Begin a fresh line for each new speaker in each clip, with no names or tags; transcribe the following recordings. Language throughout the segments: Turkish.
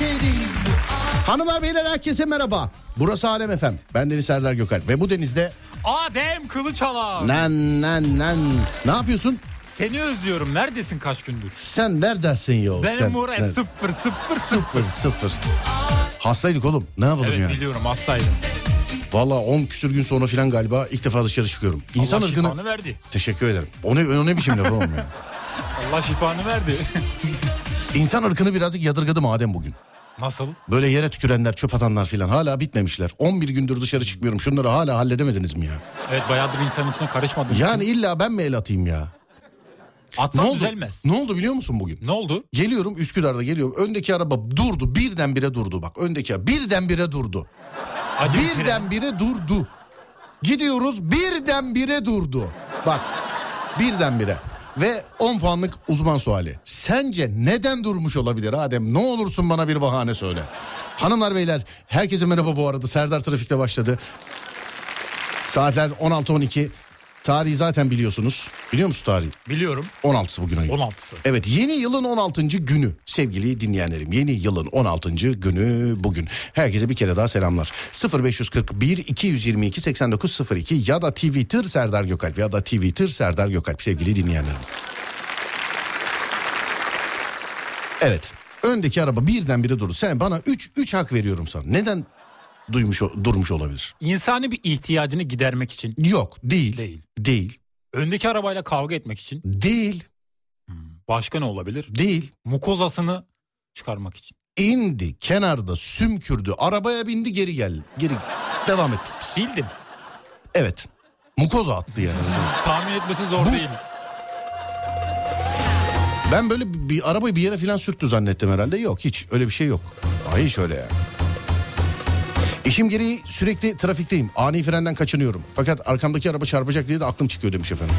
Oh!
Hanımlar beyler herkese merhaba. Burası Alem Efem. Ben Deniz Serdar Gökalp ve bu denizde
Adem Kılıçalan.
nen nen nen. Ne yapıyorsun?
Seni özlüyorum. Neredesin kaç gündür?
Sen neredesin yo?
Benim
sen,
Murat
nerede-
sıfır sıfır sıfır.
sıfır sıfır. Hastaydık oğlum. Ne yapalım
Evet
ya?
biliyorum hastaydım.
Valla 10 küsür gün sonra filan galiba ilk defa dışarı çıkıyorum. İnsan
Allah
ırkını...
şifanı verdi.
Teşekkür ederim. O ne, o ne biçim laf oğlum ya?
Allah şifanı verdi.
İnsan ırkını birazcık yadırgadım Adem bugün.
Nasıl?
Böyle yere tükürenler, çöp atanlar filan hala bitmemişler. 11 gündür dışarı çıkmıyorum. Şunları hala halledemediniz mi ya?
Evet bayağıdır insanın içine karışmadım.
Yani illa ben mi el atayım ya? Ne
Atsan
oldu?
düzelmez.
Ne oldu biliyor musun bugün?
Ne oldu?
Geliyorum Üsküdar'da geliyorum. Öndeki araba durdu. Birdenbire durdu bak. Öndeki araba birdenbire durdu.
Acı bir tren.
Birdenbire durdu. Gidiyoruz birdenbire durdu. Bak birdenbire. Ve 10 puanlık uzman suali. Sence neden durmuş olabilir Adem? Ne olursun bana bir bahane söyle. Hanımlar beyler herkese merhaba bu arada. Serdar Trafik'te başladı. Saatler 16.12. Tarihi zaten biliyorsunuz. Biliyor musun tarihi?
Biliyorum.
16'sı bugün ayın.
16'sı.
Evet yeni yılın 16. günü sevgili dinleyenlerim. Yeni yılın 16. günü bugün. Herkese bir kere daha selamlar. 0541 222 8902 ya da Twitter Serdar Gökalp ya da Twitter Serdar Gökalp sevgili dinleyenlerim. Evet öndeki araba birdenbire durdu. Sen bana 3 3 hak veriyorum sana. Neden duymuş o- durmuş olabilir?
İnsani bir ihtiyacını gidermek için.
Yok değil.
Değil.
Değil.
Öndeki arabayla kavga etmek için.
Değil.
Başka ne olabilir?
Değil.
Mukozasını çıkarmak için.
indi kenarda sümkürdü arabaya bindi geri gel geri devam ettik biz.
Bildim.
Evet mukoza attı yani.
Tahmin etmesi zor
Bu-
değil.
ben böyle bir, bir arabayı bir yere filan sürttü zannettim herhalde yok hiç öyle bir şey yok. Ay hiç öyle yani. İşim gereği sürekli trafikteyim. Ani frenden kaçınıyorum. Fakat arkamdaki araba çarpacak diye de aklım çıkıyor demiş efendim.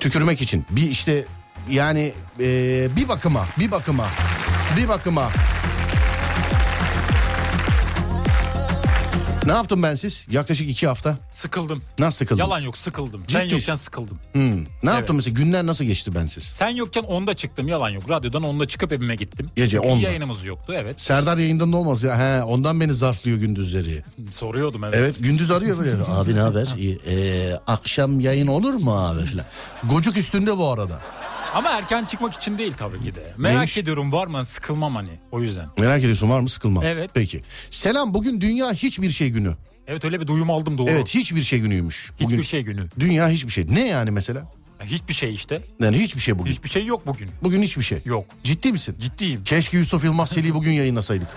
Tükürmek için. Bir işte yani eee, bir bakıma, bir bakıma, bir bakıma. Ne yaptım ben siz? Yaklaşık iki hafta.
Sıkıldım.
Nasıl sıkıldım?
Yalan yok sıkıldım. Ben
Ciddi.
yokken sıkıldım.
Hmm. Ne yaptım
Evet.
mesela? Günler nasıl geçti bensiz?
Sen yokken onda çıktım yalan yok. Radyodan onda çıkıp evime gittim.
Gece
Çünkü
10'da.
Yayınımız yoktu evet.
Serdar yayında ne olmaz ya? He, ondan beni zarflıyor gündüzleri.
Soruyordum evet.
Evet gündüz arıyor böyle. Abi ne haber? İyi. Ee, akşam yayın olur mu abi filan. Gocuk üstünde bu arada.
Ama erken çıkmak için değil tabii ki de. Merak
Neymiş?
ediyorum var mı sıkılmam hani o yüzden.
Merak ediyorsun var mı sıkılma?
Evet.
Peki. Selam bugün dünya hiçbir şey günü.
Evet öyle bir duyum aldım doğru.
Evet hiçbir şey günüymüş.
Hiçbir
Bugün
şey günü.
dünya hiçbir şey. Ne yani mesela?
Ya Hiçbir şey işte.
Yani hiçbir şey bugün.
Hiçbir şey yok bugün.
Bugün hiçbir şey.
Yok.
Ciddi misin?
Ciddiyim.
Keşke Yusuf Yılmaz Çelik'i bugün yayınlasaydık.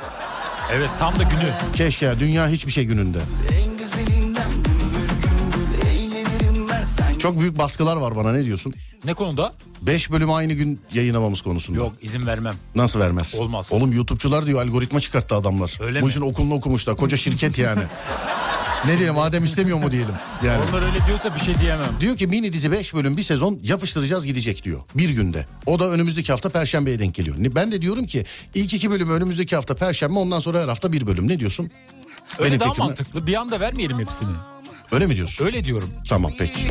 Evet tam da günü.
Keşke dünya hiçbir şey gününde.
En güzelinden gümbür gümbür eğlenirim ben sen
Çok büyük baskılar var bana ne diyorsun?
Ne konuda?
5 bölümü aynı gün yayınlamamız konusunda.
Yok izin vermem.
Nasıl vermez?
Olmaz.
Oğlum YouTube'cular diyor algoritma çıkarttı adamlar.
Öyle
Bunun
mi?
için okulunu okumuşlar. Koca şirket yani. ne diyelim Adem istemiyor mu diyelim. Yani.
Onlar öyle diyorsa bir şey diyemem.
Diyor ki mini dizi 5 bölüm bir sezon yapıştıracağız gidecek diyor. Bir günde. O da önümüzdeki hafta perşembeye denk geliyor. Ne- Ben de diyorum ki ilk iki bölümü önümüzdeki hafta perşembe ondan sonra her hafta bir bölüm. Ne diyorsun?
Öyle
Benim
daha
fikrim-
mantıklı. Bir anda vermeyelim hepsini.
Öyle mi diyorsun?
Öyle diyorum.
Tamam peki.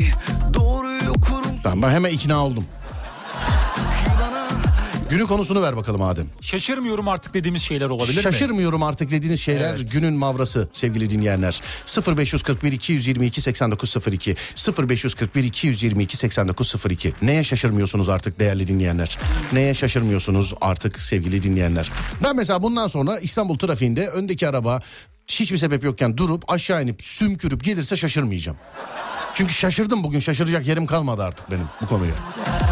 Doğruyu kurum
Tamam ben hemen ikna oldum. Günü konusunu ver bakalım Adem.
Şaşırmıyorum artık dediğimiz şeyler olabilir mi?
Şaşırmıyorum artık dediğiniz şeyler
Evet.
günün mavrası sevgili dinleyenler. 0541 222 8902 0541 222 8902 Neye şaşırmıyorsunuz artık değerli dinleyenler? Neye şaşırmıyorsunuz artık sevgili dinleyenler? Ben mesela bundan sonra İstanbul trafiğinde öndeki araba hiçbir sebep yokken durup aşağı inip sümkürüp gelirse şaşırmayacağım. Çünkü şaşırdım bugün şaşıracak yerim kalmadı artık benim bu konuya.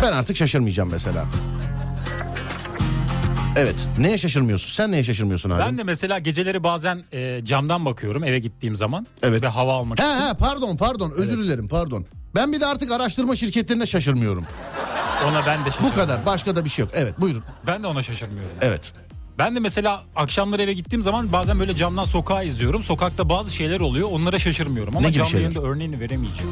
Ben artık şaşırmayacağım mesela. Evet. Neye şaşırmıyorsun? Sen neye şaşırmıyorsun abi?
Ben de mesela geceleri bazen e, camdan bakıyorum eve gittiğim zaman.
Evet.
Ve hava almak
He he pardon pardon özür dilerim pardon. Ben bir de artık araştırma şirketlerine şaşırmıyorum.
Ona ben de
Bu
şaşırmıyorum.
kadar başka da bir şey yok. Evet buyurun.
Ben de ona şaşırmıyorum.
Evet.
Ben de mesela akşamları eve gittiğim zaman bazen böyle camdan sokağı izliyorum. Sokakta bazı şeyler oluyor. Onlara şaşırmıyorum ama
Ne gibi
canlı
şeyler?
yayında örneğini veremeyeceğim.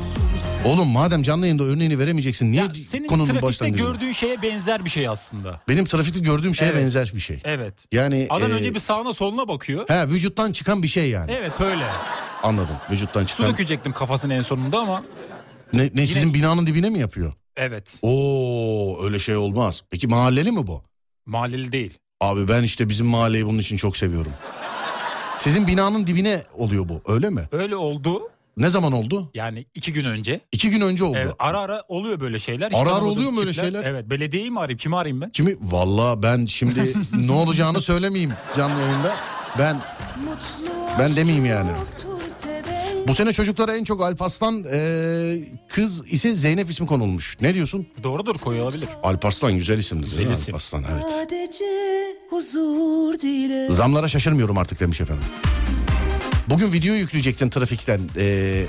Oğlum madem canlı yayında örneğini veremeyeceksin niye
Ya senin
konunun
trafikte
başlangıcı?
gördüğün şeye benzer bir şey aslında.
Benim trafikte gördüğüm şeye
Evet.
benzer bir şey.
Evet.
Yani
Adam
e,
önce bir sağına soluna bakıyor.
he vücuttan çıkan bir şey yani.
Evet öyle.
Anladım. Vücuttan
Su
çıkan.
dökecektim kafasına en sonunda ama
Ne, ne sizin binanın dibine mi yapıyor?
evet.
Oo öyle şey olmaz. Peki mahalleli mi bu?
Mahalleli değil.
Abi ben işte bizim mahalleyi bunun için çok seviyorum. Sizin binanın dibine oluyor bu öyle mi?
Öyle oldu
Ne zaman oldu?
yani iki gün önce.
İki gün önce oldu.
Evet, ara ara oluyor böyle şeyler. Hiç
Ara ara
tanımadığım
oluyor mu öyle
tipler.
şeyler?
Evet belediyeyi mi arayayım kimi arayayım ben?
Kimi? Valla ben şimdi ne olacağını söylemeyeyim canlı yayında. Ben
Ben demeyeyim yani.
bu sene çocuklara en çok Alp Arslan eee, kız ise Zeynep ismi konulmuş. Ne diyorsun?
Doğrudur koyulabilir.
Alp Arslan güzel isimdir. değil mi?
Güzel isim.
Alp Arslan evet.
Sadece huzur dile.
Zamlara şaşırmıyorum artık demiş efendim. Bugün video yükleyecektin trafikten. Ee,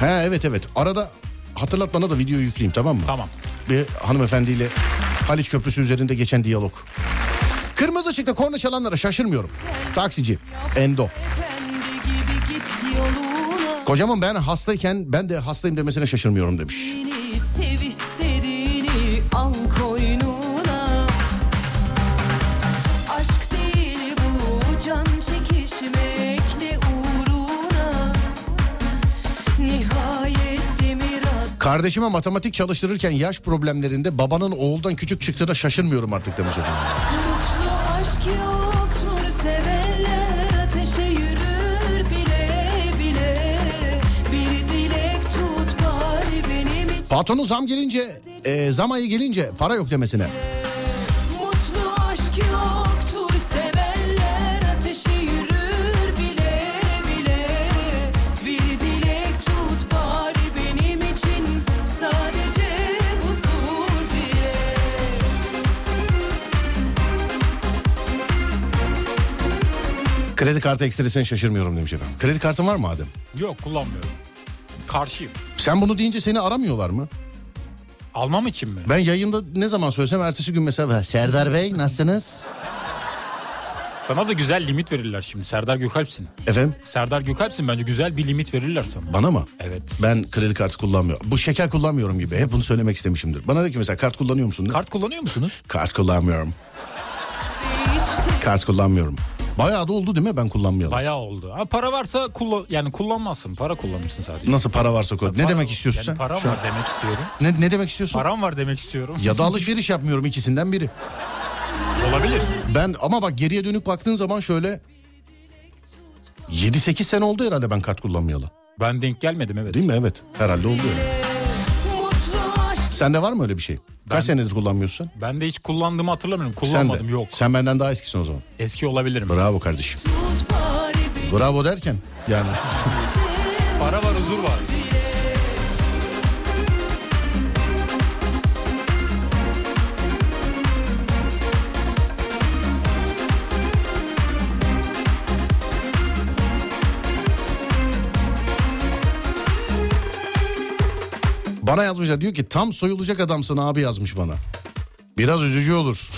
ha evet evet. Arada hatırlat bana da video yükleyeyim tamam mı?
Tamam.
Bir hanımefendiyle Haliç Köprüsü üzerinde geçen diyalog. Kırmızı ışıkta korna çalanlara şaşırmıyorum. Taksici Endo.
Efendi gibi git yoluna.
Kocaman ben hastayken ben de hastayım demesine şaşırmıyorum demiş.
Beni sev istediğini al koynuna. Aşk değil bu can çekişmek ne uğruna. Nihayet demir at
Kardeşime matematik çalıştırırken yaş problemlerinde babanın oğuldan küçük çıktığına şaşırmıyorum artık demiş efendim.
Mutlu aşk yoktur sevenler ateşe yürür bile bile Bir dilek tut bari benim için
Patronu zam gelince, e, zam ayı gelince para yok demesine.
Mutlu aşk yoktur sevenler ateşe yürür bile bile Bir dilek tut bari benim için sadece huzur dile
Kredi kartı ekstresine şaşırmıyorum demiş efendim. Kredi kartın var mı Adem?
Yok kullanmıyorum. Karşıyım.
Sen bunu deyince seni aramıyorlar mı?
Almam için mi?
Ben yayında ne zaman söylesem ertesi gün mesela "Ha, Serdar Bey nasılsınız?
Sana da güzel limit verirler şimdi. Serdar Gökalp'sin.
Efendim
Serdar Gökalp'sin bence güzel bir limit verirler sana.
bana mı?
Evet.
Ben kredi kartı kullanmıyorum. Bu şeker kullanmıyorum gibi. Hep bunu söylemek istemişimdir. Bana de ki mesela kart kullanıyor musun? de.
Kart kullanıyor musunuz?
Kart kullanmıyorum. Kart kullanmıyorum. Bayağı da oldu değil mi ben kullanmayalım?
Bayağı oldu. Ama para varsa kullan yani kullanmazsın. Para kullanırsın sadece.
Nasıl para varsa koy. Ne
Para-
demek istiyorsun
yani
sen?
Param
Şu an-
var demek istiyorum.
Ne, ne demek istiyorsun?
Param var demek istiyorum.
Ya da alışveriş yapmıyorum ikisinden biri.
Olabilir.
Ben ama bak geriye dönüp baktığın zaman şöyle 7-8 sene oldu herhalde ben kart kullanmayalı.
Ben denk gelmedim evet.
Değil mi? Evet. Herhalde oldu yani.
Mutlu aşk
Sende var mı öyle bir şey? Kaç senedir kullanmıyorsun?
Ben de hiç kullandığımı hatırlamıyorum.
Sen de.
Kullanmadım yok.
Sen benden daha eskisin o zaman.
Eski olabilirim.
Bravo kardeşim.
tut bari benim
Bravo derken yani.
Para var huzur var.
bana yazmışlar diyor ki tam soyulacak adamsın abi yazmış bana. Biraz üzücü olur.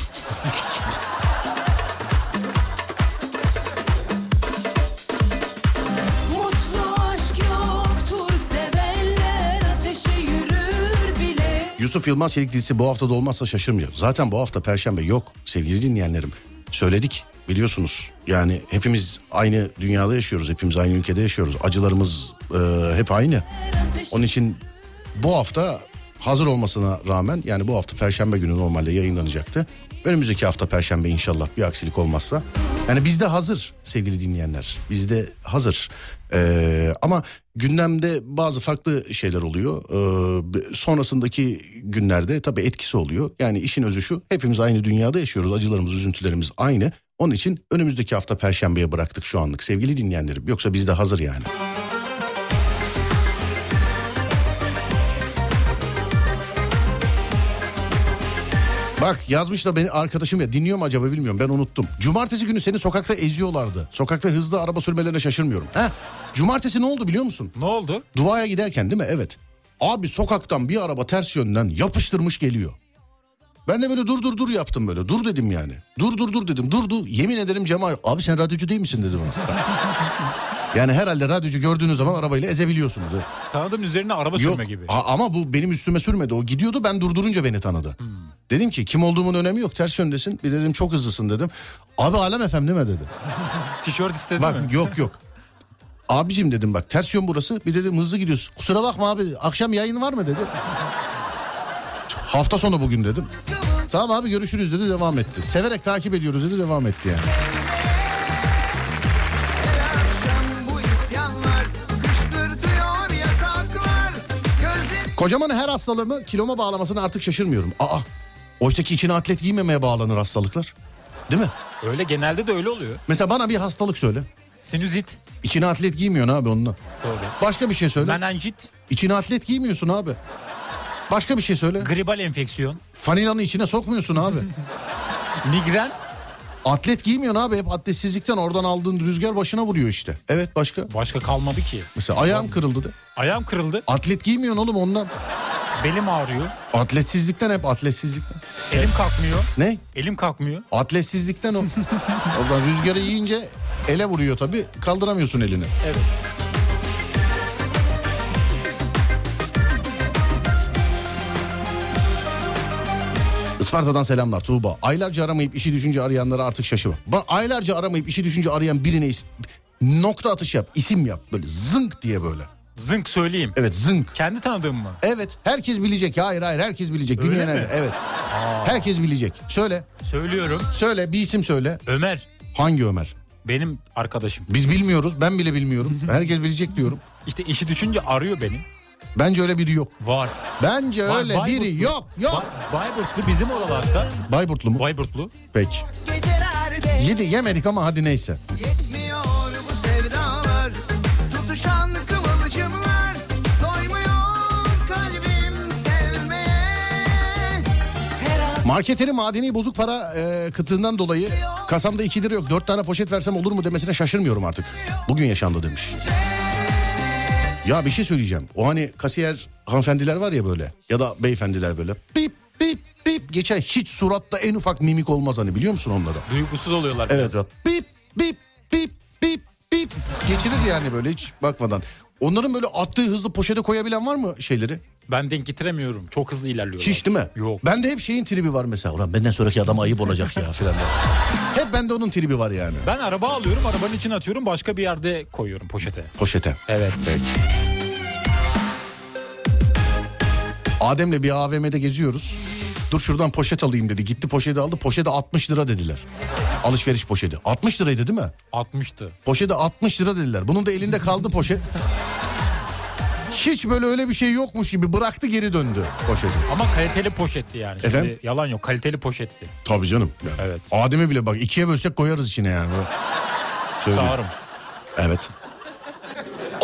Mutlu aşk yoktur sevenler ateşe yürür bile
Yusuf Yılmaz Çelik dizisi bu hafta da olmazsa şaşırmıyorum. Zaten bu hafta perşembe yok sevgili dinleyenlerim. Söyledik biliyorsunuz. Yani hepimiz aynı dünyada yaşıyoruz. Hepimiz aynı ülkede yaşıyoruz. Acılarımız e, hep aynı. Onun için bu hafta hazır olmasına rağmen yani bu hafta perşembe günü normalde yayınlanacaktı. Önümüzdeki hafta perşembe inşallah bir aksilik olmazsa. Yani bizde hazır sevgili dinleyenler. Bizde hazır. Ee, ama gündemde bazı farklı şeyler oluyor. Ee, sonrasındaki günlerde tabii etkisi oluyor. Yani işin özü şu hepimiz aynı dünyada yaşıyoruz. Acılarımız, üzüntülerimiz aynı. Onun için önümüzdeki hafta perşembeye bıraktık şu anlık sevgili dinleyenlerim. Yoksa bizde hazır yani. Bak yazmış da beni arkadaşım ya dinliyor mu acaba bilmiyorum ben unuttum. Cumartesi günü seni sokakta eziyorlardı. Sokakta hızlı araba sürmelerine şaşırmıyorum. Heh. Cumartesi ne oldu biliyor musun?
Ne oldu?
Duaya giderken değil mi? Evet. Abi sokaktan bir araba ters yönden yapıştırmış geliyor. Ben de böyle dur dur dur yaptım böyle. Dur dedim yani. Dur dur dur dedim. Durdu. Yemin ederim Cemal abi sen radyocu değil misin dedi bana. yani herhalde radyocu gördüğünüz zaman arabayla ezebiliyorsunuz. evet.
Tanıdığın üzerine araba sürme gibi.
a- ama bu benim üstüme sürmedi. O gidiyordu ben durdurunca beni tanıdı.
Hmm.
Dedim ki kim olduğumun önemi yok ters yöndesin. Bir dedim çok hızlısın dedim. Abi alem efem değil mi dedi.
Tişört istedi
Bak
mi?
yok yok. Abicim dedim bak ters yön burası. Bir dedim hızlı gidiyorsun. Kusura bakma abi akşam yayın var mı dedi. Hafta sonu bugün dedim. Tamam abi görüşürüz dedi devam etti. Severek takip ediyoruz dedi devam etti yani.
Can bu isyanlar Kıştırtıyor yasaklar Gözlerim
Kocaman her hastalığımı kiloma bağlamasına artık şaşırmıyorum. Aa oysa ki içine atlet giymemeye bağlanır hastalıklar. Değil mi?
Öyle genelde de öyle oluyor.
Mesela bana bir hastalık söyle.
Sinüzit,
İçine atlet giymiyorsun abi onunla.
Doğru.
Başka bir şey söyle.
menenjit,
İçine atlet giymiyorsun abi. Başka bir şey söyle.
gribal enfeksiyon,
Fanilanı içine sokmuyorsun abi.
migren,
atlet giymiyorsun abi. Hep atletsizlikten oradan aldığın rüzgar başına vuruyor işte. Evet başka.
başka kalmadı ki.
Mesela ayağım kırıldı de.
Ayağım kırıldı,
Atlet giymiyorsun oğlum ondan.
belim ağrıyor,
Atletsizlikten hep atletsizlikten.
elim kalkmıyor,
Ne?
elim kalkmıyor.
Atletsizlikten o. Oradan rüzgarı yiyince ele vuruyor tabii. Kaldıramıyorsun elini.
Evet.
Isparta'dan selamlar Tuğba. Aylarca aramayıp işi düşünce arayanlara artık şaşırma. Ba- Aylarca aramayıp işi düşünce arayan birine is- nokta atış yap. isim yap. Böyle zınk diye böyle.
Zınk söyleyeyim.
Evet zınk.
Kendi tanıdığım mı?
Evet herkes bilecek. Hayır hayır herkes bilecek.
Öyle
Dünyanın
mi?
her- Evet. Herkes bilecek. Söyle.
Söylüyorum.
Söyle bir isim söyle.
Ömer
Hangi Ömer?
benim arkadaşım.
Biz bilmiyoruz. Ben bile bilmiyorum. Herkes bilecek diyorum.
İşte işi düşünce arıyor beni.
Bence öyle biri yok.
Var.
Bence
Var,
öyle
Bayburtlu.
biri yok. Yok.
Ba- Bayburtlu bizim oralarda.
Bayburtlu mu?
Bayburtlu.
Peki.
gecelerde
Yedi yemedik ama hadi neyse.
Yetmiyor bu sevdalar Tutuşan kıvılcımlar Doymuyor kalbim sevmeye Her an
Marketeri madeni bozuk para e, kıtlığından dolayı kasamda 2 lira yok 4 tane poşet versem olur mu demesine şaşırmıyorum artık. Bugün yaşandı demiş. Ya bir şey söyleyeceğim. O hani kasiyer hanımefendiler var ya böyle ya da beyefendiler böyle bip bip bip geçer hiç suratta en ufak mimik olmaz hani biliyor musun onlara?
Duygusuz oluyorlar biraz.
Evet bip bip bip bip bip geçirir yani böyle hiç bakmadan. Onların böyle attığı hızlı poşete koyabilen var mı şeyleri?
Ben denk getiremiyorum. Çok hızlı ilerliyorlar.
Hiç değil mi?
Yok.
Bende hep şeyin tribi var mesela. Ulan benden sonraki adam ayıp olacak ya filan. diye. hep bende onun tribi var yani.
Ben araba alıyorum, arabanın içine atıyorum, başka bir yerde koyuyorum poşete.
Poşete.
Evet.
Adem'le bir AVM'de geziyoruz. Dur şuradan poşet alayım dedi. Gitti poşeti aldı. Poşete 60 lira dediler. Alışveriş poşeti. 60 liraydı değil mi?
60'tı.
Poşete 60 lira dediler. Bunun da elinde kaldı poşet. Hiç böyle öyle bir şey yokmuş gibi bıraktı geri döndü poşeti.
Ama kaliteli poşetti yani. Şimdi
Efendim?
yalan yok, kaliteli poşetti.
Tabii canım.
Evet.
Adem'e bile bak ikiye bölsek koyarız içine yani. Söyleyeyim.
Sağırım.
Evet.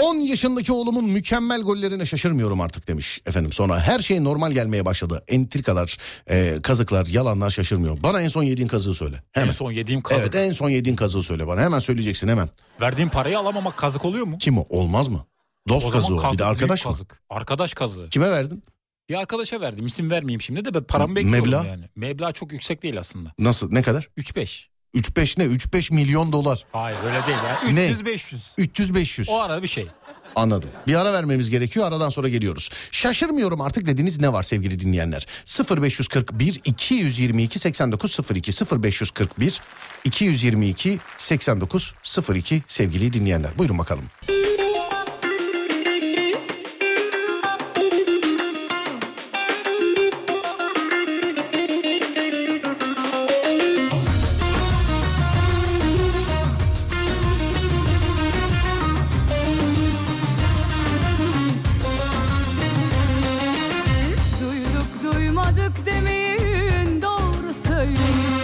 10 yaşındaki oğlumun mükemmel gollerine şaşırmıyorum artık demiş efendim. Sonra her şey normal gelmeye başladı. Entrikalar, e, kazıklar, yalanlar şaşırmıyor. Bana en son yediğin kazığı söyle. Hemen.
En son yediğim kazık.
Evet en son yediğin kazığı söyle bana. Hemen söyleyeceksin hemen.
Verdiğim parayı alamamak kazık oluyor mu?
Kim o? Olmaz mı? Dost
O zaman
kazığı. o.
kazık,
Bir de
büyük
arkadaş mı?
Kazık. Arkadaş kazığı.
Kime verdin?
Bir arkadaşa verdim. İsim vermeyeyim şimdi de ben paramı bekliyorum
Meblağ?
yani. Meblağ çok yüksek değil aslında.
Nasıl? Ne kadar?
3-5.
3-5 ne? 3-5 milyon dolar.
Hayır öyle değil ya.
Ne?
300-500.
300-500.
O arada bir şey.
Anladım. Bir ara vermemiz gerekiyor. Aradan sonra geliyoruz. Şaşırmıyorum artık dediğiniz ne var sevgili dinleyenler? 0541 222 8902 0541 222 8902 sevgili dinleyenler. Buyurun bakalım.
Duyduk duymadık demeyin doğru söyleyin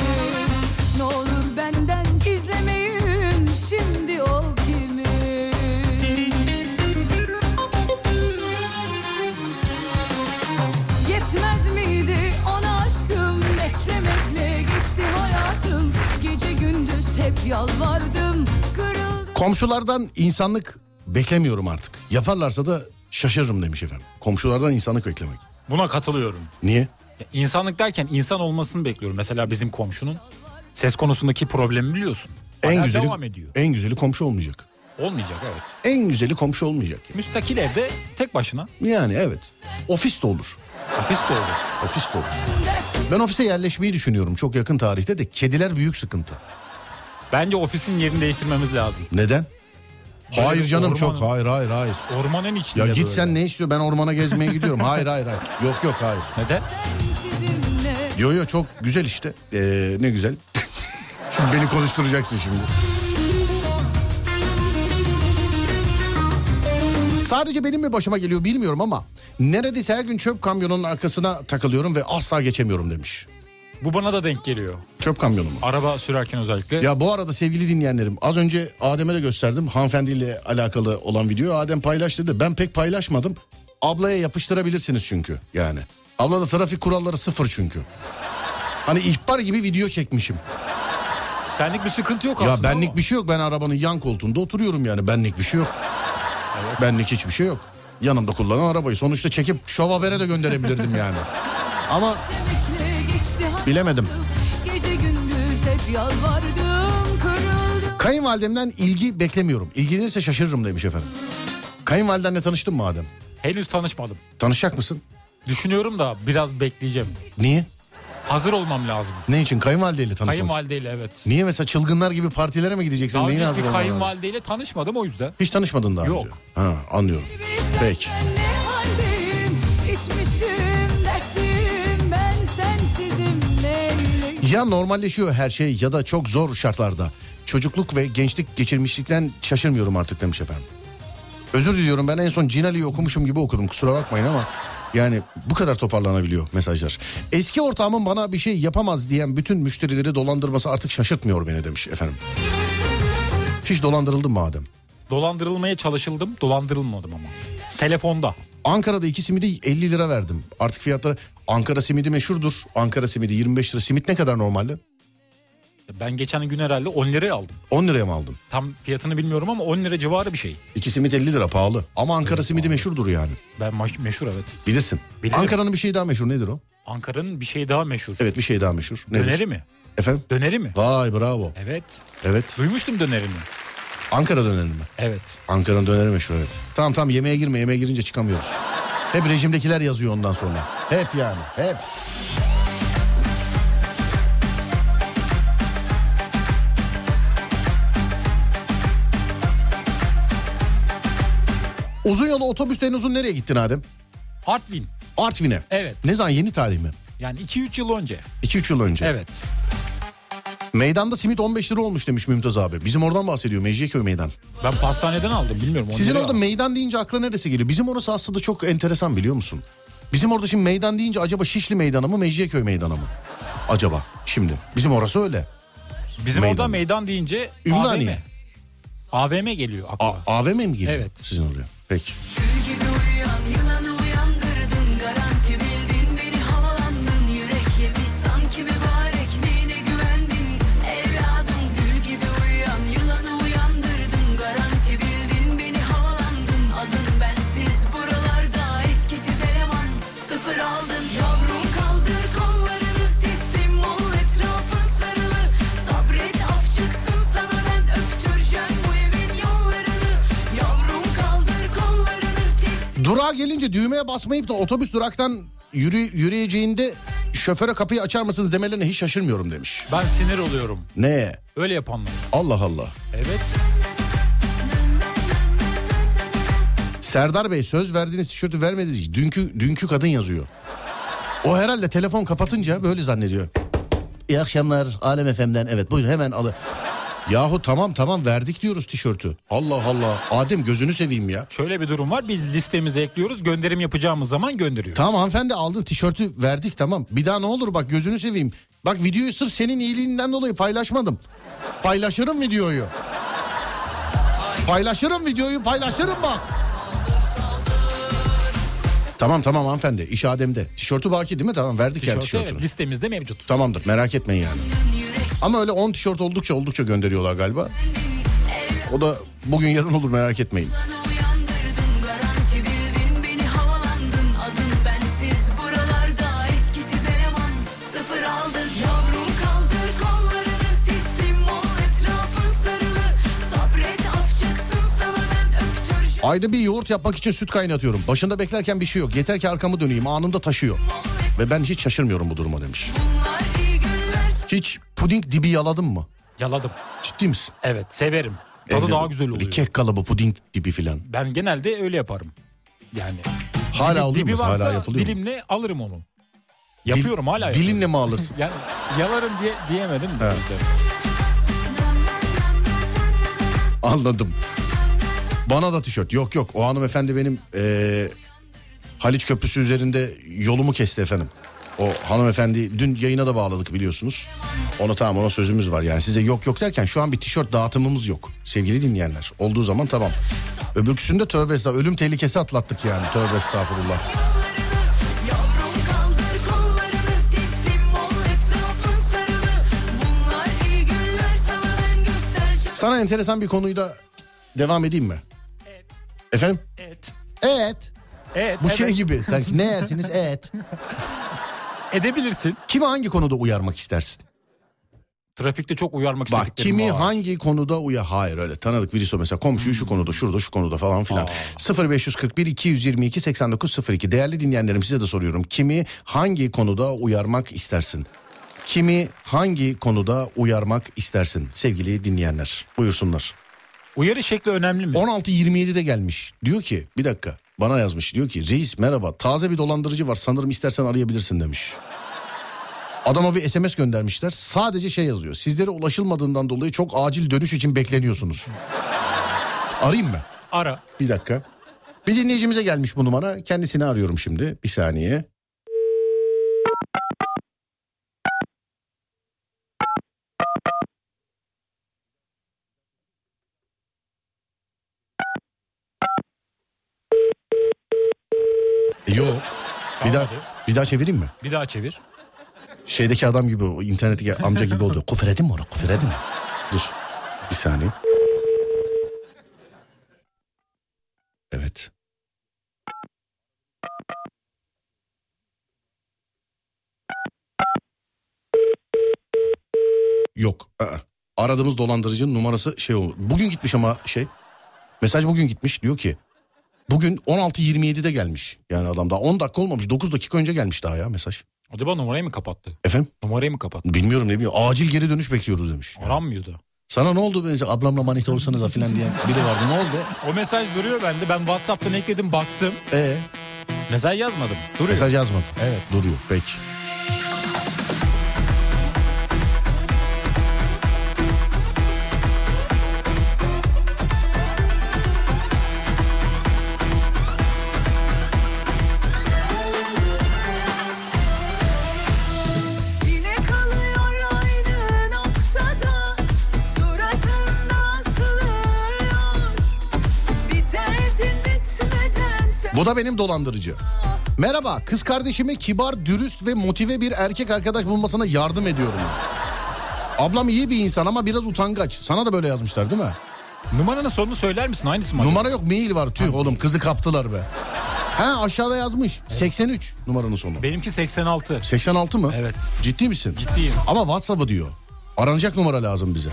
Ne olur benden gizlemeyin şimdi o kimin Yetmez miydi ona aşkım beklemekle geçti hayatım Gece gündüz hep yalvardım kırıldım
Komşulardan insanlık beklemiyorum artık. Yaparlarsa da şaşırırım demiş efendim. Komşulardan insanlık beklemek.
Buna katılıyorum.
Niye?
Ya İnsanlık derken insan olmasını bekliyorum. Mesela bizim komşunun ses konusundaki problemi biliyorsun.
En
Hala
güzeli,
devam ediyor.
en güzeli komşu olmayacak.
Olmayacak evet.
En güzeli komşu olmayacak.
Müstakil evde tek başına
Yani evet. Ofis de olur.
hapis de olur.
Ofis de olur. Ben ofise yerleşmeyi düşünüyorum çok yakın tarihte de kediler büyük sıkıntı.
Bence ofisin yerini değiştirmemiz lazım.
Neden? Hayır
bir
canım
ormanın-
çok. Hayır hayır hayır.
Ormanın içinde
Ya git
böyle.
sen ne istiyor? Ben ormana gezmeye gidiyorum. Hayır hayır hayır. Yok yok hayır.
Neden?
Sizimle
Yo yo çok güzel işte. Ee, ne güzel. Şimdi beni konuşturacaksın şimdi. Sadece benim mi başıma geliyor bilmiyorum ama neredeyse her gün çöp kamyonunun arkasına takılıyorum ve asla geçemiyorum demiş.
Bu bana da denk geliyor.
Çöp kamyonu mu?
Araba sürerken özellikle.
Ya bu arada sevgili dinleyenlerim az önce Adem'e de gösterdim hanımefendiyle alakalı olan videoyu. Adem paylaş dedi. Ben pek paylaşmadım. Ablaya yapıştırabilirsiniz çünkü yani. Abla da trafik kuralları sıfır çünkü. Hani ihbar gibi video çekmişim.
Senlik bir sıkıntı yok
Ya
aslında
benlik
ama.
bir şey yok. Ben arabanın yan koltuğunda oturuyorum yani. Benlik bir şey yok. Benlik hiçbir şey yok. Yanımda kullanan arabayı sonuçta çekip şov habere de gönderebilirdim yani. Ama
Demekle geçti hayatım.
Bilemedim.
Gece gündüz hep yalvardım kırıldım
kayınvalidemden ilgi beklemiyorum. İlgilenirse şaşırırım demiş efendim. Kayınvalidenle tanıştın mı Adem?
Henüz tanışmadım.
Tanışacak mısın?
Düşünüyorum da biraz bekleyeceğim.
Niye?
Hazır olmam lazım.
Ne için? Kayınvalideyle tanışmak.
Kayınvalideyle evet.
Niye mesela çılgınlar gibi partilere mi gideceksin?
Daha
Neyin
önce bir
hazırlanmanı?
kayınvalideyle tanışmadım o yüzden.
Hiç tanışmadın daha
Yok.
önce. Ha, anlıyorum. Peki.
Ben ne haldeyim içmişim dertliyim ben sensizim neyleyim
Ya normalleşiyor her şey ya da çok zor şartlarda. Çocukluk ve gençlik geçirmişlikten şaşırmıyorum artık demiş efendim. Özür diliyorum ben en son Cinali'yi okumuşum gibi okudum kusura bakmayın ama yani bu kadar toparlanabiliyor mesajlar. Eski ortağımın bana bir şey yapamaz diyen bütün müşterileri dolandırması artık şaşırtmıyor beni demiş efendim. Hiç dolandırıldım mı Adem?
Dolandırılmaya çalışıldım. Dolandırılmadım ama. Telefonda.
Ankara'da iki simidi 50 lira verdim. Artık fiyatları Ankara simidi meşhurdur. Ankara simidi 25 lira. Simit ne kadar normalde?
Ben geçen gün herhalde 10 liraya aldım.
10 liraya mı aldım?
Tam fiyatını bilmiyorum ama 10 lira civarı bir şey.
İki simit 50 lira pahalı. Ama Ankara simidi meşhurdur yani.
Ben ma- meşhur evet.
Bilirsin.
Bilirim.
Ankara'nın bir şey daha meşhur nedir o?
Ankara'nın bir şey daha meşhur.
Evet bir şey daha meşhur. Nedir?
Döneri mi?
Efendim?
Döneri mi?
Vay bravo.
Evet.
Evet.
Duymuştum dönerini.
Ankara döneri mi?
Evet.
Ankara'nın döneri meşhur evet. Tamam tamam yemeğe girme yemeğe girince çıkamıyoruz. Hep rejimdekiler yazıyor ondan sonra. Hep yani hep. Uzun yolu otobüsten uzun nereye gittin Adem?
Artvin.
Artvin'e.
Evet.
Ne zaman yeni tarih mi?
Yani 2-3 yıl önce.
2-3 yıl önce.
Evet.
Meydanda simit 15 lira olmuş demiş Mümtaz abi. Bizim oradan bahsediyor Mecidiyeköy meydan.
Ben pastaneden aldım bilmiyorum. 10
Sizin
lira
orada
aldım.
meydan deyince akla neresi geliyor? Bizim orası aslında çok enteresan biliyor musun? Bizim orada şimdi meydan deyince acaba Şişli Meydanı mı Mecidiyeköy Meydanı mı? Acaba şimdi. Bizim orası öyle.
Bizim orada
Meydan.
meydan deyince
Ümraniye.
AVM. AVM geliyor
A-
aklıma.
AVM mi geliyor?
Evet.
Sizin oraya. Peki.
Gül gibi uyuyan yılanı uyandırdın Garanti bildin beni havalandın Yürek yemiş sanki mübarek Neyine güvendin evladım Gül gibi uyuyan yılanı uyandırdın Garanti bildin beni havalandın Adın bensiz buralarda etkisiz eleman Sıfır aldın yavrum kaldır kollarını Teslim ol etrafın sarılı Sabret af çıksın sana ben öptüreceğim bu evin yollarını Yavrum kaldır kollarını teslim
Durağa gelince düğmeye basmayıp da otobüs duraktan yürü, yürüyeceğinde şoföre kapıyı açar mısınız demelerine hiç şaşırmıyorum demiş.
Ben sinir oluyorum.
Ne?
Öyle yapanlar.
Allah Allah.
Evet.
Serdar Bey söz verdiğiniz tişörtü vermediniz. Dünkü dünkü kadın yazıyor. O herhalde telefon kapatınca böyle zannediyor. İyi akşamlar Alem FM'den. Evet buyurun hemen alın. Yahu tamam tamam verdik diyoruz tişörtü. Allah Allah. Adem gözünü seveyim ya.
Şöyle bir durum var. Biz listemize ekliyoruz. Gönderim yapacağımız zaman gönderiyoruz.
Tamam hanımefendi aldın tişörtü verdik tamam. Bir daha ne olur bak gözünü seveyim. Bak videoyu sırf senin iyiliğinden dolayı paylaşmadım. Paylaşırım videoyu. Paylaşırım videoyu paylaşırım bak. Tamam tamam hanımefendi iş Adem'de. Tişörtü baki değil mi? Tamam verdik yani
Tişörtü, evet,
tişörtünü.
listemizde mevcut.
Tamamdır merak etmeyin yani. Ama öyle 10 tişört oldukça oldukça gönderiyorlar galiba. O da bugün yarın olur merak etmeyin.
uyandırdın Garanti bildin beni havalandın Adın bensiz buralarda etkisiz eleman Sıfır aldın yavrum kaldır kollarını Teslim ol etrafın sarılı Sabret af çıksın sana ben öptüreceğim
Ayda bir yoğurt yapmak için süt kaynatıyorum. Başında beklerken bir şey yok. Yeter ki arkamı döneyim anında taşıyor. Ve ben hiç şaşırmıyorum bu duruma demiş.
Bunlar iyi günler
Hiç puding dibi yaladın mı?
Yaladım.
Ciddi misin?
Evet severim. Tadı
Evde
daha
bu-
güzel
böyle
oluyor.
Kek kalıbı puding dibi filan.
Ben genelde öyle yaparım. Yani
Hala oluyor
dibi
mu?
varsa
Hala yapılıyor mu?
dilimle alırım onu.
Dil-
Yapıyorum hala yapıyorum.
Dilinle mi alırsın?
Yani yalarım diye diyemedim. de.
Anladım. Bana da tişört. Yok yok o hanımefendi benim eee, Haliç Köprüsü üzerinde yolumu kesti efendim. O hanımefendi dün yayına da bağladık biliyorsunuz. Ona tamam ona sözümüz var yani size yok yok derken şu an bir tişört dağıtımımız yok. Sevgili dinleyenler olduğu zaman tamam. Öbürküsünde tövbe estağfurullah ölüm tehlikesi atlattık yani tövbe estağfurullah.
Yollarını yavrum kaldır kollarını teslim ol etrafın sarılı bunlar iyi günler sana ben göstereceğim.
Sana enteresan bir konuyu da devam edeyim mi? Efendim?
Evet.
Evet.
Evet.
Bu
evet.
şey gibi. Sanki ne yersiniz? Evet.
edebilirsin.
Kimi hangi konuda uyarmak istersin?
Trafikte çok uyarmak
Bak
istediklerim
kimi
var. Hmm.
hangi konuda uya hayır öyle tanıdık birisi o mesela komşu şu konuda şurada şu konuda falan filan. 0541 222 8902 değerli dinleyenlerim size de soruyorum. Kimi hangi konuda uyarmak istersin? Kimi hangi konuda uyarmak istersin sevgili dinleyenler? Buyursunlar.
Uyarı şekli önemli mi?
16.27'de gelmiş. Diyor ki bir dakika bana yazmış diyor ki reis merhaba taze bir dolandırıcı var sanırım istersen arayabilirsin demiş. Adama bir SMS göndermişler. Sadece şey yazıyor. Sizlere ulaşılmadığından dolayı çok acil dönüş için bekleniyorsunuz. Arayayım mı?
Ara.
Bir dakika. Bir dinleyicimize gelmiş bu numara. Kendisini arıyorum şimdi. Bir saniye. Yok. Bir daha, bir daha çevireyim mi?
Bir daha çevir.
Şeydeki adam gibi, o internetteki amca gibi oldu. Kufür edeyim mi ona? Kufür edeyim mi? Dur. Bir saniye. Evet. Yok. ı-ı. Aradığımız dolandırıcının numarası şey oldu. Bugün gitmiş ama şey. Mesaj bugün gitmiş. Diyor ki bugün 16.27'de gelmiş. Yani adam daha 10 dakika olmamış. 9 dakika önce gelmiş daha ya mesaj.
Acaba numarayı mı kapattı?
Efendim?
Numarayı mı kapattı?
Bilmiyorum ne bileyim. Acil geri dönüş bekliyoruz demiş.
Aranmıyordu.
Sana ne oldu benzi ablamla manita olsanız da filan diyen biri vardı. Ne oldu?
O mesaj duruyor bende. Ben WhatsApp'tan ekledim baktım.
Ee,
Mesaj yazmadım. Duruyor.
mesaj yazmadı.
Evet.
Duruyor. Peki.
Yine kalıyor aynı noktada Suratında asılıyor Bir derdin bitmeden sen
Bu da benim dolandırıcı. Merhaba kız kardeşime kibar, dürüst ve motive bir erkek arkadaş bulmasına yardım ediyorum. Ablam iyi bir insan ama biraz utangaç. Sana da böyle yazmışlar değil mi?
Numaranın sonunu söyler misin? Aynısı mı? acaba?
Numara yok mail var tüh oğlum kızı kaptılar be. Ha aşağıda yazmış. 83 numaranın sonu.
Benimki 86.
86 mı?
Evet.
Ciddi misin?
Ciddiyim.
Ama WhatsApp'ı diyor. Aranacak numara lazım bize.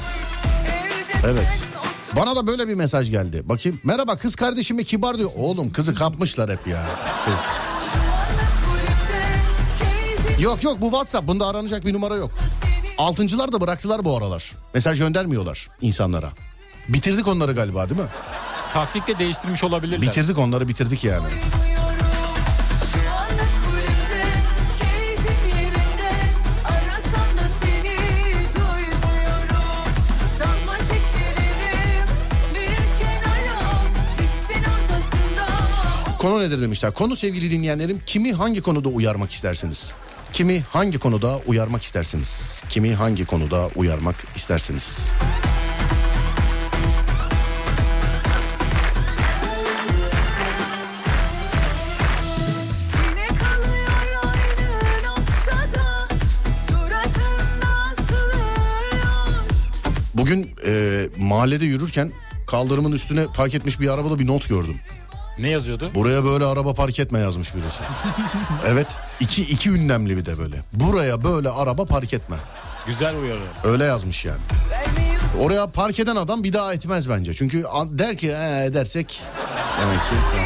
evde
Evet.
sen otur
Bana da böyle bir mesaj geldi. Bakayım. Merhaba kız kardeşime kibar diyor. Oğlum kızı kapmışlar hep ya. Kız.
kulüpte Keyfin
Yok yok bu WhatsApp. Bunda aranacak bir numara yok.
senin
Altıncılar da bıraktılar bu aralar. Mesaj göndermiyorlar insanlara. Bitirdik onları galiba değil mi?
Taktik de değiştirmiş olabilirler.
Bitirdik onları bitirdik yani.
duyuyorum Şu anda kulüpte Keyfim yerinde Arasan da seni duymuyorum Sanma çekilirim Bir kenara Hissin ortasında
Konu nedir demişler. Konu sevgili dinleyenlerim kimi hangi konuda uyarmak istersiniz? Kimi hangi konuda uyarmak istersiniz? Kimi hangi konuda uyarmak istersiniz?
Yine kalıyor aynı noktada Suratında asılıyor
Bugün e, mahallede yürürken kaldırımın üstüne park etmiş bir arabada bir not gördüm.
Ne yazıyordu?
Buraya böyle araba park etme yazmış birisi. evet. iki, iki ünlemli bir de böyle. Buraya böyle araba park etme.
Güzel uyarı.
Öyle yazmış yani.
Vermiyorsun
Oraya park eden adam bir daha etmez bence. Çünkü an- der ki "Ee, edersek demek ki.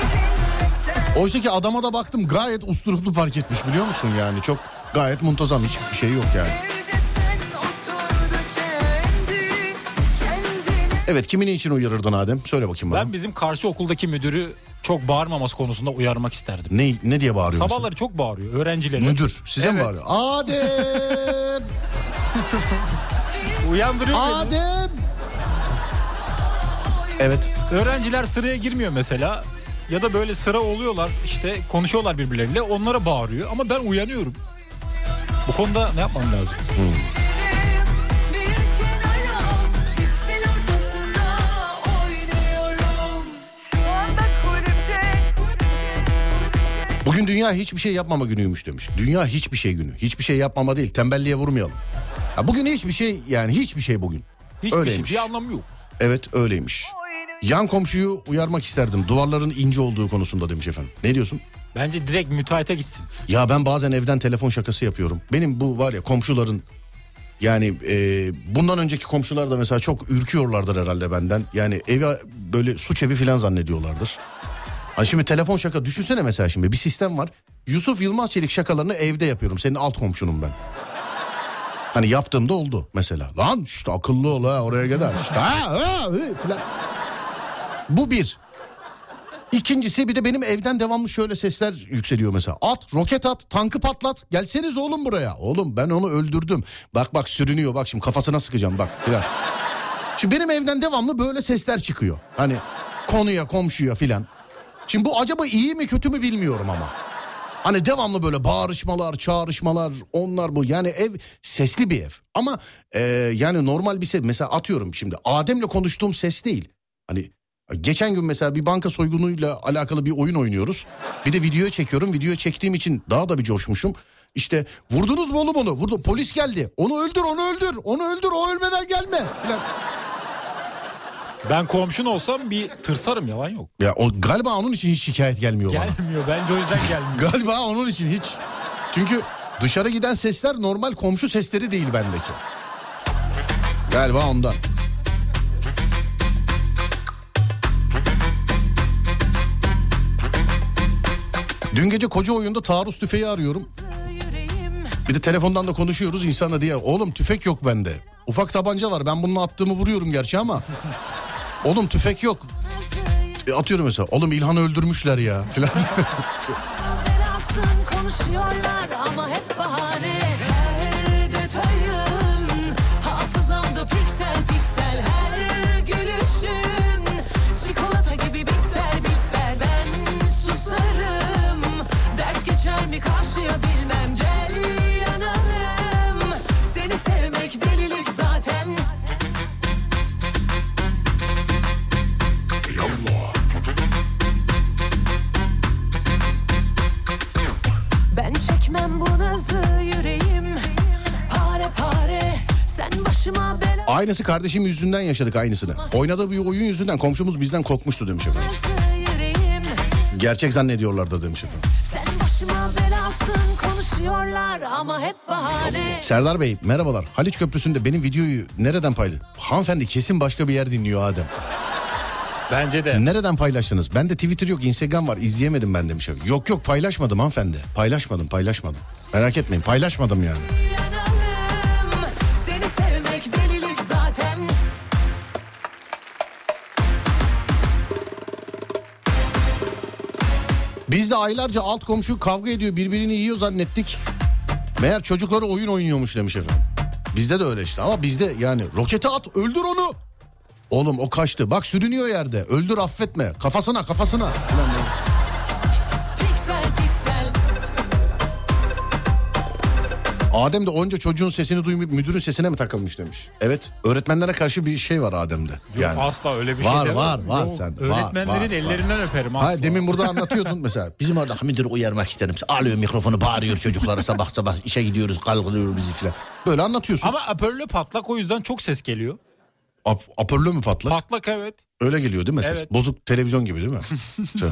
sen
Oysa ki adama da baktım gayet usturuplu park etmiş biliyor musun yani. Çok gayet muntazam hiçbir şey yok yani.
Evde sen oturdu kendini Kendine
Evet kimin için uyarırdın Adem? Söyle bakayım bana.
Ben bizim karşı okuldaki müdürü çok bağırmaması konusunda uyarmak isterdim.
Ne, ne diye bağırıyor mesela?
Sabahları çok bağırıyor öğrencilere.
Müdür size mi
Evet.
bağırıyor? Adem!
Uyandırıyor beni.
Adem! Evet.
Öğrenciler sıraya girmiyor mesela. Ya da böyle sıra oluyorlar işte konuşuyorlar birbirleriyle onlara bağırıyor ama ben uyanıyorum. Bu konuda ne yapmam lazım?
Çekilirim bir kenara Hissin ortasında oynuyorum Şu anda kulüpte
Bugün dünya hiçbir şey yapmama günüymüş demiş. Dünya hiçbir şey günü. Hiçbir şey yapmama değil. Tembelliğe vurmayalım. Ya bugün hiçbir şey yani hiçbir şey bugün.
Hiçbir
Öyleymiş.
şey bir anlamı yok.
Evet öyleymiş. Yan komşuyu uyarmak isterdim. Duvarların ince olduğu konusunda demiş efendim. Ne diyorsun?
Bence direkt müteahhite gitsin.
Ya ben bazen evden telefon şakası yapıyorum. Benim bu var ya komşuların yani e, bundan önceki komşular da mesela çok ürküyorlardır herhalde benden. Yani evi böyle suç evi falan zannediyorlardır. Ha şimdi telefon şaka düşünsene mesela şimdi bir sistem var. Yusuf Yılmaz Çelik şakalarını evde yapıyorum. Senin alt komşunum ben. Hani yaptığımda oldu mesela. Lan işte akıllı ol ha oraya gider. İşte ha, ha, hı, falan. Bu bir. İkincisi bir de benim evden devamlı şöyle sesler yükseliyor mesela. At, roket at, tankı patlat. Gelseniz oğlum buraya. Oğlum ben onu öldürdüm. Bak bak sürünüyor. Bak şimdi kafasına sıkacağım bak. Filan. Şimdi benim evden devamlı böyle sesler çıkıyor. Hani konuya, komşuya filan. Şimdi bu acaba iyi mi kötü mü bilmiyorum ama. Hani devamlı böyle bağırışmalar, çağrışmalar, onlar bu. Yani ev sesli bir ev. Ama e, yani normal bir ses. Mesela atıyorum şimdi Adem'le konuştuğum ses değil. Hani geçen gün mesela bir banka soygunuyla alakalı bir oyun oynuyoruz. Bir de video çekiyorum. Video çektiğim için daha da bir coşmuşum. İşte vurdunuz mu oğlum onu? Vurdu. Polis geldi. Onu öldür, onu öldür. Onu öldür, o ölmeden gelme. Falan.
Ben komşun olsam bir tırsarım yalan yok.
Ya o, galiba onun için hiç şikayet gelmiyor bana.
Gelmiyor bence o yüzden gelmiyor.
Galiba onun için hiç. Çünkü dışarı giden sesler normal komşu sesleri değil bendeki. Galiba ondan. Dün gece koca oyunda taarruz tüfeği arıyorum. Bir de telefondan da konuşuyoruz insana diye. Oğlum tüfek yok bende. Ufak tabanca var. Ben bununla attığımı vuruyorum gerçi ama. Oğlum tüfek yok. E, atıyorum mesela. Oğlum İlhan'ı öldürmüşler ya. Falan.
Belasın konuşuyorlar ama hep bahane Her detayın hafızamda piksel piksel Her gülüşün çikolata gibi biter biter Ben susarım dert geçer mi karşıya bilmem Gel yanalım seni sevmek delilik zaten Ben çekmem bu nazı yüreğim Pare pare sen başıma bela
Aynısı kardeşim yüzünden yaşadık aynısını. Oynadığı bir oyun yüzünden komşumuz bizden korkmuştu demiş efendim.
Yazı yüreğim
Gerçek zannediyorlardır demiş efendim.
Sen başıma belasın konuşuyorlar ama hep bahane
Serdar Bey merhabalar. Haliç Köprüsü'nde benim videoyu nereden paylaştınız? Hanımefendi kesin başka bir yer dinliyor Adem.
Bence de.
Nereden paylaştınız? Bende Twitter yok Instagram var izleyemedim ben demiş efendim. Yok yok paylaşmadım hanımefendi. Paylaşmadım paylaşmadım. Merak etmeyin paylaşmadım yani.
Yanalım seni sevmek delilik zaten
Biz de aylarca alt komşu kavga ediyor birbirini yiyor zannettik. Meğer çocukları oyun oynuyormuş demiş efendim. Bizde de öyle işte ama bizde yani rokete at öldür onu. Oğlum o kaçtı bak sürünüyor yerde öldür affetme kafasına kafasına.
Piksel piksel
Adem de onca çocuğun sesini duymayıp müdürün sesine mi takılmış demiş. Evet öğretmenlere karşı bir şey var Adem'de.
Yok asla öyle bir
var,
şey demem.
Var var
Yok,
sende, var.
Öğretmenlerin
var, var.
ellerinden öperim asla.
Ha, demin burada anlatıyordun mesela. Bizim orada müdür uyarmak isterim. Alıyor mikrofonu bağırıyor çocuklara sabah sabah işe gidiyoruz kalkılıyor bizi filan. Böyle anlatıyorsun.
Ama hoparlör patlak o yüzden çok ses geliyor.
Ap- Apörlü mü patlak?
Patlak evet.
Öyle geliyor değil mi ses?
Evet.
Bozuk televizyon gibi değil mi? Şey.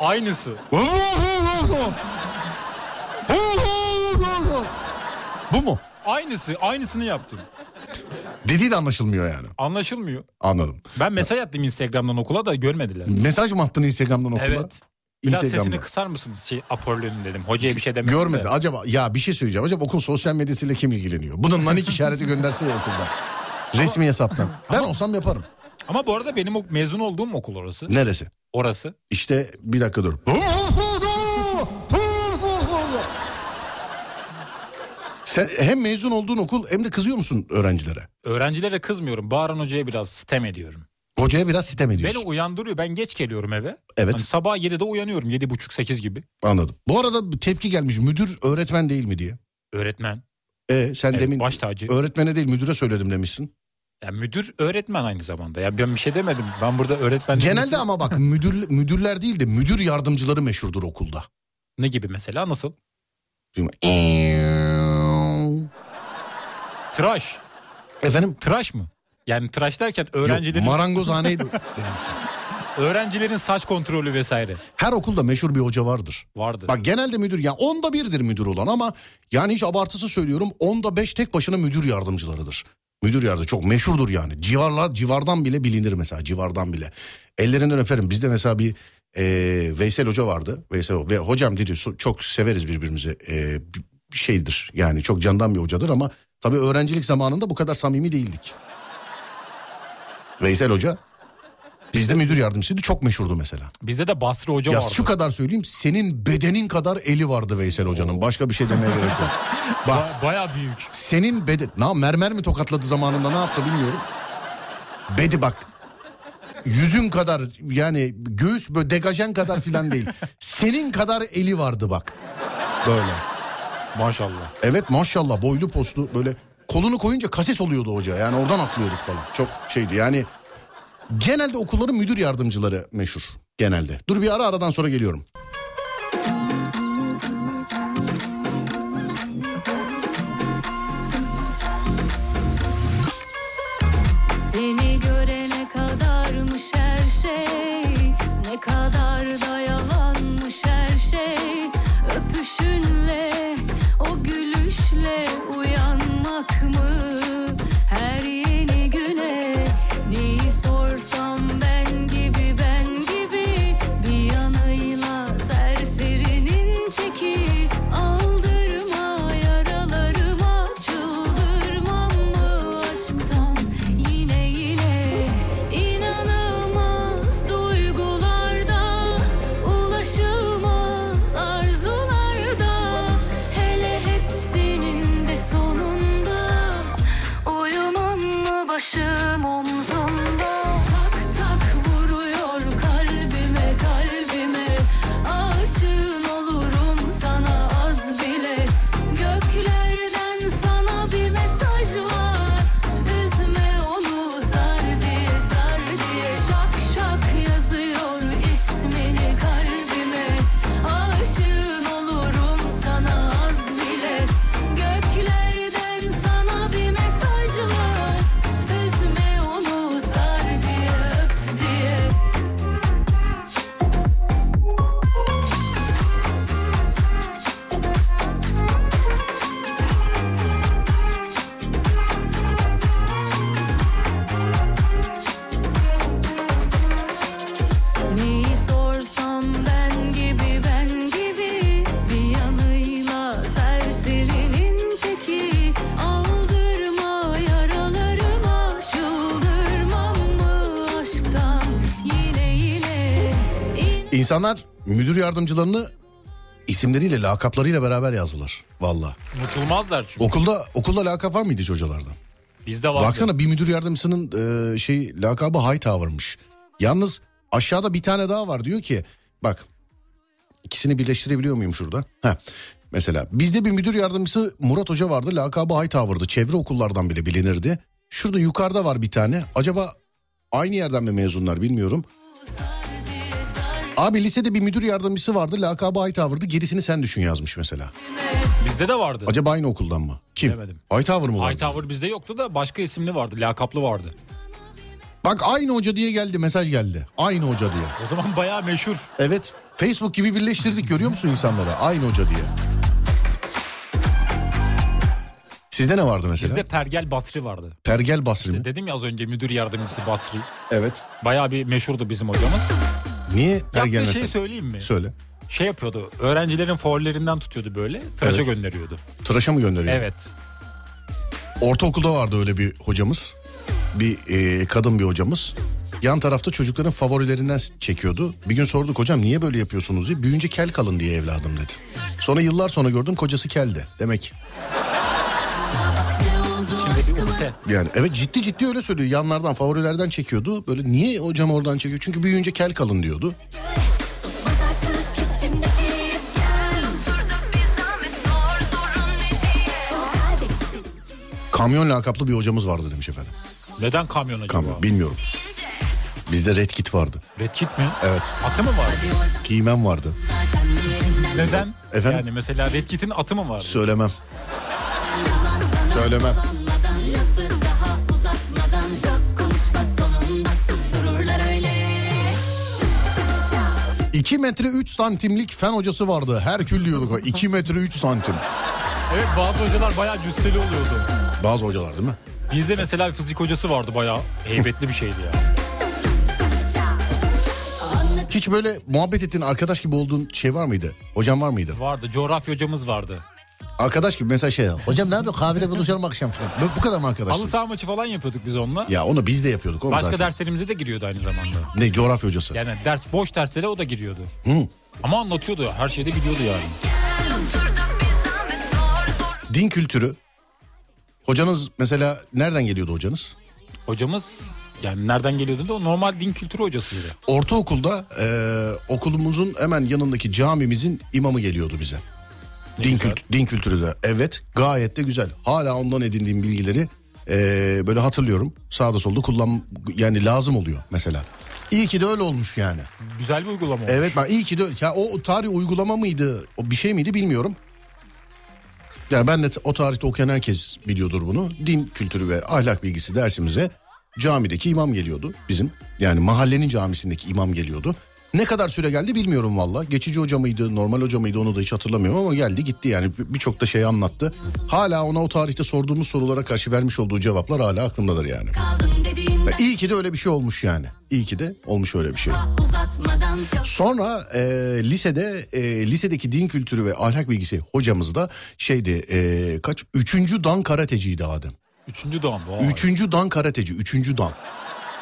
Aynısı.
Bu mu?
Aynısı. Aynısını yaptım.
Dediği de anlaşılmıyor yani.
Anlaşılmıyor.
Anladım.
Ben mesaj attım Instagram'dan okula da görmediler.
Mesaj mı attın Instagram'dan okula?
Evet. Biraz
Instagram'da.
sesini kısar mısınız şey, aporlörün dedim. Hocaya bir şey demedim.
Görmedi.
de.
Acaba ya bir şey söyleyeceğim. Acaba okul sosyal medyasıyla kim ilgileniyor? Bunun nanik işareti gönderse ya okuldan. Resmi hesaptan. Ben olsam yaparım.
Ama bu arada benim ok- mezun olduğum okul orası.
Neresi?
Orası.
İşte bir dakika dur. Sen hem mezun olduğun okul hem de kızıyor musun öğrencilere?
Öğrencilere kızmıyorum. Bağıran hocaya biraz sitem ediyorum.
Hocaya biraz sitem ediyorsun.
Beni uyandırıyor. Ben geç geliyorum eve.
Evet.
Hani sabah 7'de uyanıyorum. 7.30-8 gibi.
Anladım. Bu arada tepki gelmiş müdür öğretmen değil mi diye.
Öğretmen.
E, sen
Evet,
demin
baş tacı.
öğretmene değil müdüre söyledim demişsin.
Ya müdür öğretmen aynı zamanda. Ya ben bir şey demedim. Ben burada öğretmen...
Genelde ama bak müdür müdürler değil de müdür yardımcıları meşhurdur okulda.
Ne gibi mesela? Nasıl? Tıraş.
Efendim
Tıraş mı? Yani tıraş derken
Öğrencilerin...
öğrencilerin
marangozhaneydi.
öğrencilerin saç kontrolü vesaire
Her okulda meşhur bir hoca vardır.
vardı.
Bak genelde müdür ya onda birdir müdür olan ama yani hiç abartısı söylüyorum onda beş tek başına müdür yardımcılarıdır. Müdür yardı çok meşhurdur yani. Civarla civardan bile bilinir mesela civardan bile. Ellerinden öperim. Bizde mesela bir e, Veysel Hoca vardı. Veysel Ho- ve hocam dedi so- çok severiz birbirimizi. E, bir şeydir yani çok candan bir hocadır ama tabii öğrencilik zamanında bu kadar samimi değildik. Veysel Hoca bizde müdür yardımcısıydı çok meşhurdu mesela.
Bizde de Basri Hoca
Ya
vardı.
şu kadar söyleyeyim senin bedenin kadar eli vardı Veysel hocanın. Başka bir şey demeye gerek yok. Bak
Ba- Baya büyük.
senin beden... Na, mermer mi tokatladı zamanında ne yaptı bilmiyorum. Bedi bak. Yüzün kadar yani göğüs böyle degajen kadar filan değil. Senin kadar eli vardı bak. Böyle.
Maşallah.
Evet maşallah boylu poslu böyle kolunu koyunca kases oluyordu hoca. Yani oradan atlıyorduk falan. Çok şeydi yani genelde okulların müdür yardımcıları meşhur genelde. Dur bir ara aradan sonra geliyorum.
Seni görene kadarmış her şey Ne kadar da yalanmış her şey Öpüşünle o gülüşle uyanmak mı Her yeni güne neyi sorsam ben gibi ben gibi Bir yanıyla serserinin teki Aldırma yaralarıma çıldırmam mı aşktan yine yine inanılmaz duygularda ulaşılmaz arzularda hele hepsinin de sonunda uyumam mı başım omzumda tak tak vuruyor kalbime kalbime aşığın olurum sana az bile göklerden sana bir mesaj var üzme onu zar diye zar diye şak şak yazıyor ismini kalbime aşığın olurum sana az bile göklerden sana bir mesaj var üzme onu zar diye öp diye Neyi sorsam ben gibi ben gibi Bir yanıyla serserinin teki Aldırma yaralarıma çıldırmam mı aşktan Yine yine in-
İnsanlar müdür yardımcılarını isimleriyle, lakaplarıyla beraber yazdılar. Valla.
Unutulmazlar çünkü.
Okulda okulda lakap var mıydı hiç hocalarda?
Bizde vardı.
Baksana bir müdür yardımcısının e, şey lakabı Hightower'mış. Yalnız aşağıda bir tane daha var diyor ki bak ikisini birleştirebiliyor muyum şurada? Heh. Mesela bizde bir müdür yardımcısı Murat Hoca vardı lakabı Hightower'dı. Çevre okullardan bile bilinirdi. Şurada yukarıda var bir tane. Acaba aynı yerden mi mezunlar bilmiyorum.
Sar diye sar
Abi lisede bir müdür yardımcısı vardı. Lakabı Hightower'dı. Gerisini sen düşün yazmış mesela.
Bizde de vardı.
Acaba aynı okuldan mı? Kim?
Bilemedim.
Hightower mı vardı?
Hightower bizde yoktu da başka isimli vardı. Lakaplı vardı.
Bak aynı hoca diye geldi mesaj geldi. Aynı hoca diye.
O zaman bayağı meşhur.
Evet Facebook gibi birleştirdik görüyor musun insanları? Aynı hoca diye. Sizde ne vardı mesela?
Bizde Pergel Basri vardı.
Pergel Basri mi?
Dedim ya az önce müdür yardımcısı Basri.
Evet.
Bayağı bir şey meşhurdu bizim hocamız.
Niye
Yaptığı
ergenler
şeyi
sen-
söyleyeyim mi?
Söyle.
Şey yapıyordu. Öğrencilerin faullerinden tutuyordu böyle. Tıraşa
Evet.
gönderiyordu.
Tıraşa mı gönderiyor?
Evet.
Ortaokulda vardı öyle bir hocamız. Bir e, kadın bir hocamız. Yan tarafta çocukların favorilerinden s- çekiyordu. Bir gün sorduk hocam niye böyle yapıyorsunuz diye. Büyünce kel kalın diye evladım dedi. Sonra yıllar sonra gördüm kocası keldi. Demek
Şimdi bir ünite.
yani evet ciddi ciddi öyle söylüyor. Yanlardan favorilerden çekiyordu. Böyle niye hocam oradan çekiyor? Çünkü büyüyünce kel kalın diyordu.
Susmaz artık içimdeki isyan Durdum bir zahmet sor sorun ne diye O halde
Kamyon lakaplı bir hocamız vardı demiş efendim.
Neden kamyon acaba?
Kamyon bilmiyorum. Bizde red kit vardı.
Red kit mi?
Evet.
Atı mı var?
Giymem vardı.
Neden?
Efendim?
Yani mesela Red Kit'in atı mı var?
Söylemem. Söylemem.
Uzatmadan lafı daha uzatmadan Çok konuşma sonunda susururlar öyle Çık çak
2 metre 3 santimlik fen hocası vardı. Herkül diyorduk. 2 metre 3 santim.
Evet bazı hocalar bayağı cüsseli oluyordu.
Bazı hocalar değil mi?
Bizde mesela bir fizik hocası vardı bayağı heybetli bir şeydi ya.
Hiç böyle muhabbet ettiğin arkadaş gibi olduğun şey var mıydı? Hocam var mıydı?
Vardı coğrafya hocamız vardı.
Arkadaş gibi mesela şey. Hocam ne yapıyorsun? Kahvede buluşalım akşam falan. Böyle Bu kadar mı
Halı
arkadaşlar?
saha maçı falan yapıyorduk biz onunla.
Ya onu biz de yapıyorduk oğlum
Başka
zaten.
derslerimize de giriyordu aynı zamanda.
Ne coğrafya hocası?
Yani ders boş derslere o da giriyordu.
Hı.
Ama anlatıyordu her şeyde biliyordu yani.
Din kültürü. Hocanız mesela nereden geliyordu hocanız?
Hocamız yani nereden geliyordu da o normal din kültürü hocasıydı.
Ortaokulda eee, okulumuzun hemen yanındaki camimizin imamı geliyordu bize. Din,
güzel.
kült- din kültürü de evet gayet de güzel. Hala ondan edindiğim bilgileri eee, böyle hatırlıyorum. Sağda solda kullan yani lazım oluyor mesela. İyi ki de öyle olmuş yani.
Güzel bir uygulama olmuş.
Evet ben iyi ki de öyle. Ya o tarih uygulama mıydı? O bir şey miydi bilmiyorum. Yani ben de t- o tarihte okuyan herkes biliyordur bunu. Din kültürü ve ahlak bilgisi dersimize camideki imam geliyordu bizim. Yani mahallenin camisindeki imam geliyordu. Ne kadar süre geldi bilmiyorum valla. Geçici hoca mıydı, normal hoca mıydı onu da hiç hatırlamıyorum ama geldi gitti yani Bir- birçok da şey anlattı. Hala ona o tarihte sorduğumuz sorulara karşı vermiş olduğu cevaplar hala aklımdadır yani.
aldım dediğimde
Ya İyi ki de öyle bir şey olmuş yani. İyi ki de olmuş öyle bir şey.
uzatmadan çok
Sonra e, lisede e, lisedeki din kültürü ve ahlak bilgisi hocamız da şeydi e, kaç üçüncü dan karateciydi Adem.
Üçüncü dan. vay.
Üçüncü dan karateci, üçüncü dan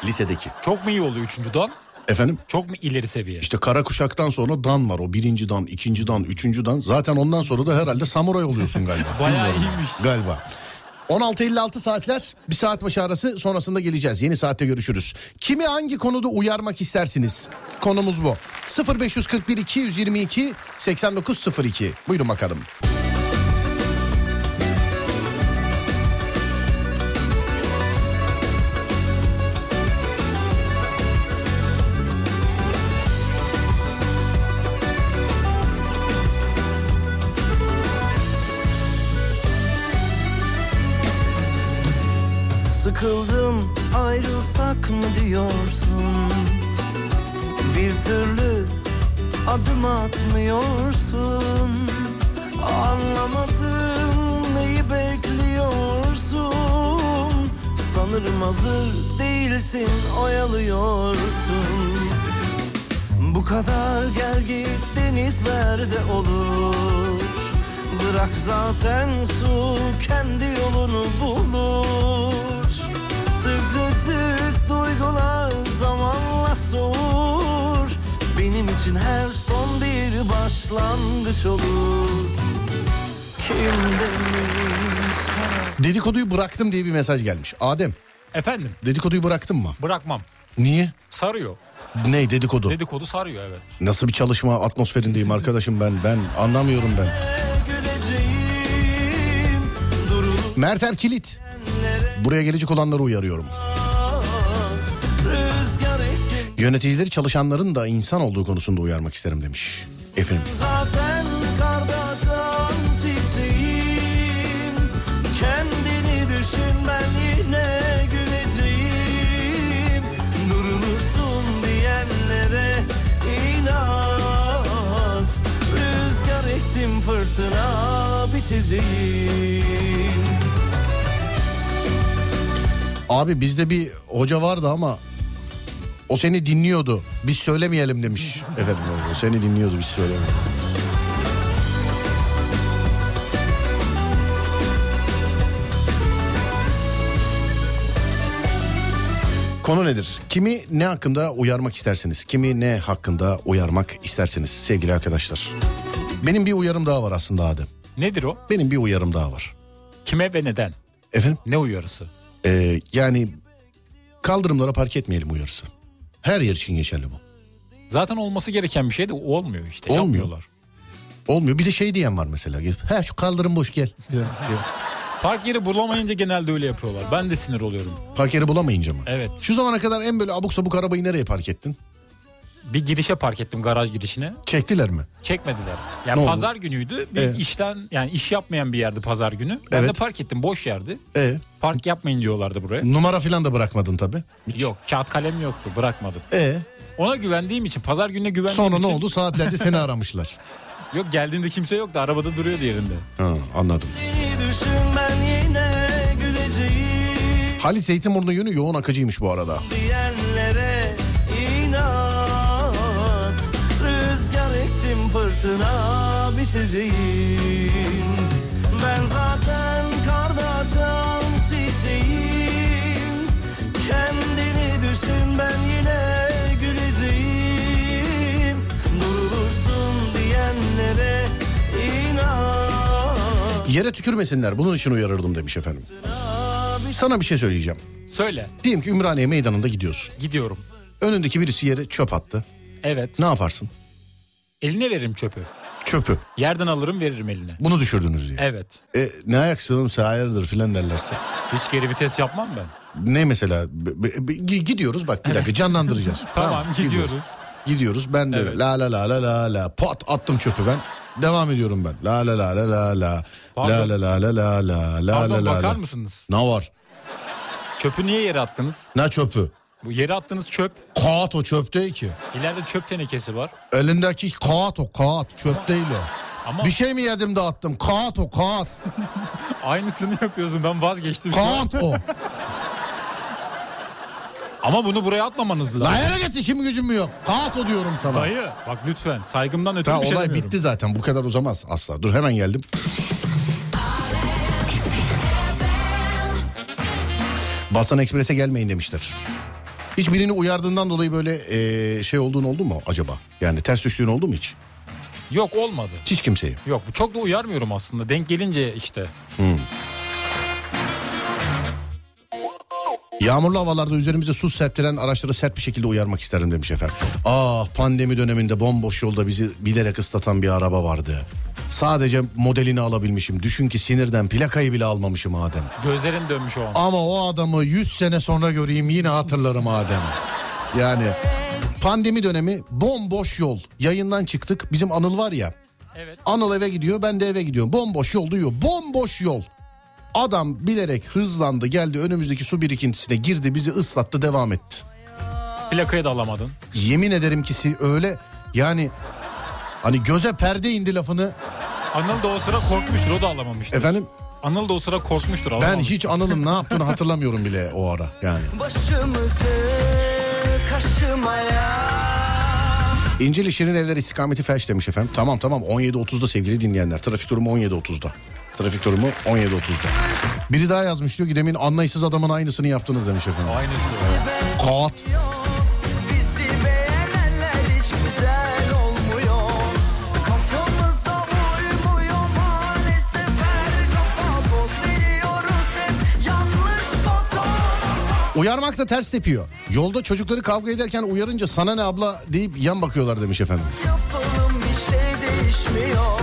lisedeki.
Çok mu iyi oluyor üçüncü dan?
Efendim
Çok mu ileri seviye?
işte kara kuşaktan sonra dan var o birinci dan, ikinci dan, üçüncü dan. Zaten ondan sonra da herhalde samuray oluyorsun galiba.
Bayağı
Bilmiyorum.
iyiymiş.
Galiba. 16.56 saatler bir saat başı arası sonrasında geleceğiz. Yeni saatte görüşürüz. Kimi hangi konuda uyarmak istersiniz? Konumuz bu. 0541 222 8902. Buyurun bakalım.
Sıkıldım ayrılsak mı diyorsun Bir türlü adım atmıyorsun Anlamadım neyi bekliyorsun Sanırım hazır değilsin oyalıyorsun bu kadar gel git deniz ver de olur Bırak zaten su kendi yolunu bulur Sıcacık duygular zamanla soğur Benim için her son bir başlangıç olur Kim demiş
Dedikoduyu bıraktım diye bir mesaj gelmiş. Adem
Efendim
dedikoduyu bıraktın mı?
bırakmam.
Niye?
Sarıyor.
Ne dedikodu?
Dedikodu sarıyor evet.
Nasıl bir çalışma atmosferindeyim arkadaşım ben? Ben anlamıyorum ben.
güleceğim Durulup
Mert Erkilit. Buraya gelecek olanları uyarıyorum.
rüzgar etsin
Yöneticileri çalışanların da insan olduğu konusunda uyarmak isterim demiş. Efendim.
Zaten kardeşim çiçeğim Kendini düşün ben yine güleceğim Durulursun diyenlere inat Rüzgar ettim fırtına biçeceğim
Abi bizde bir hoca vardı ama O seni dinliyordu. Biz söylemeyelim demiş. Efendim o seni dinliyordu biz söylemeyelim. Konu nedir? Kimi ne hakkında uyarmak istersiniz? Kimi ne hakkında uyarmak istersiniz sevgili arkadaşlar? Benim bir uyarım daha var aslında Adem.
Nedir o?
Benim bir uyarım daha var.
Kime ve neden?
Efendim?
Ne uyarısı?
Ee, yani kaldırımlara park etmeyelim uyarısı. Her yer için geçerli bu.
Zaten olması gereken bir şey de olmuyor işte.
Olmuyor.
Yapmıyorlar.
Olmuyor. Bir de şey diyen var mesela. He şu kaldırım boş gel.
Park yeri bulamayınca genelde öyle yapıyorlar. Ben de sinir oluyorum.
Park yeri bulamayınca mı?
Evet.
Şu zamana kadar en böyle abuk sabuk arabayı nereye park ettin?
Bir girişe park ettim garaj girişine.
Çektiler mi?
Çekmediler.
Ne
Yani
oldu?
pazar günüydü. Bir
Evet.
işten yani iş yapmayan bir yerdi pazar günü. Ben de
Evet.
park ettim boş yerdi.
E
Park yapmayın diyorlardı buraya.
numara filan da bırakmadın tabii.
Yok kağıt kalem yoktu bırakmadım.
E
Ona güvendiğim için pazar gününe güvendiğim
sonra ne
için-
oldu? Saatlerce seni aramışlar.
Yok geldiğimde kimse yoktu arabada duruyordu yerinde.
Ha, anladım.
Beni düşün ben yine güleceğim
Halit Zeytinburnu yönü yoğun akıcıymış bu arada.
diyenlere inat Rüzgar ettim fırtına biçeceğim Ben zaten karda açan çiçeğim Kendini düşün ben yine güleceğim Durursun diyenlere inat
Yere tükürmesinler bunun için uyarırdım demiş efendim. Sana bir şey söyleyeceğim.
Söyle
Diyelim ki Ümraniye meydanında gidiyorsun.
gidiyorum.
Önündeki birisi yere çöp attı.
Evet.
Ne yaparsın?
Eline veririm çöpü.
Çöpü.
Yerden alırım veririm eline.
Bunu düşürdünüz diye.
Evet.
E, ne ayaksın oğlum sen hayırdır filan derlerse.
Hiç geri vites yapmam ben.
Ne mesela B- b- b- gi- gidiyoruz bak bir dakika canlandıracağız.
Tamam, gidiyoruz.
Gidiyoruz ben de
Evet.
la la la la la la pat attım çöpü ben. Devam ediyorum ben. La la la la la la la
Pardon.
la la la la la la la
Pardon
la
bakar
la.
mısınız?
Ne var?
Çöpü niye yere attınız?
Ne çöpü?
Bu yere attığınız çöp.
Kağıt o çöp değil ki.
İleride çöp tenekesi var.
Elindeki kağıt o kağıt çöp değil o.
Ama
Bir şey mi yedim de attım? Kağıt o kağıt.
aynısını yapıyorsun. Ben vazgeçtim.
Kağıt o.
Ama bunu buraya atmamanız lazım.
La yere git işim gücüm mü yok? Kağıt o diyorum sana.
Dayı bak lütfen saygımdan ötürü
Ta
bir şey
olay
demiyorum.
bitti zaten. Bu kadar uzamaz asla. Dur hemen geldim. Basan Ekspres'e gelmeyin demişler. Hiç birini uyardığından dolayı böyle eee, şey olduğun oldu mu acaba? Yani ters düştüğün oldu mu hiç?
Yok olmadı.
Hiç kimseyi.
Yok bu çok da uyarmıyorum aslında. Denk gelince işte.
Yağmurlu havalarda üzerimize su serptiren araçları sert bir şekilde uyarmak isterim demiş efendim. Ah pandemi döneminde bomboş yolda bizi bilerek ıslatan bir araba vardı. Sadece modelini alabilmişim. Düşün ki sinirden plakayı bile almamışım Adem.
Gözlerin dönmüş o an.
Ama o adamı 100 sene sonra göreyim yine hatırlarım Adem. Yani pandemi dönemi bomboş yol. Yayından çıktık. Bizim Anıl var ya.
Evet.
Anıl eve gidiyor ben de eve gidiyorum. Bomboş yol duyuyor. Bomboş yol. Adam bilerek hızlandı geldi önümüzdeki su birikintisine girdi bizi ıslattı devam etti.
Plakayı da alamadın.
Yemin ederim ki si- öyle yani hani göze perde indi lafını
Anıl da o sıra korkmuştur. O da alamamıştır.
efendim
Anıl da o sıra korkmuştur.
ben
alamamıştır.
hiç Anıl'ın ne yaptığını hatırlamıyorum bile o ara yani.
Başımızı kaşımaya
İnceli Şirin Evler istikameti felç demiş efendim. Tamam tamam 17.30'da sevgili dinleyenler. Trafik durumu 17.30'da. Trafik durumu 17.30'da. Biri daha yazmış diyor ki demin anlayışsız adamın aynısını yaptınız demiş efendim.
Aynısı.
Kağıt.
Bizi beğenenler hiç güzel olmuyor Kafamıza uymuyor maalesef her kafa boz veriyoruz hep yanlış fotoğraf
Uyarmak da ters tepiyor. Yolda çocukları kavga ederken uyarınca sana ne abla deyip yan bakıyorlar demiş efendim.
yapalım bir şey değişmiyor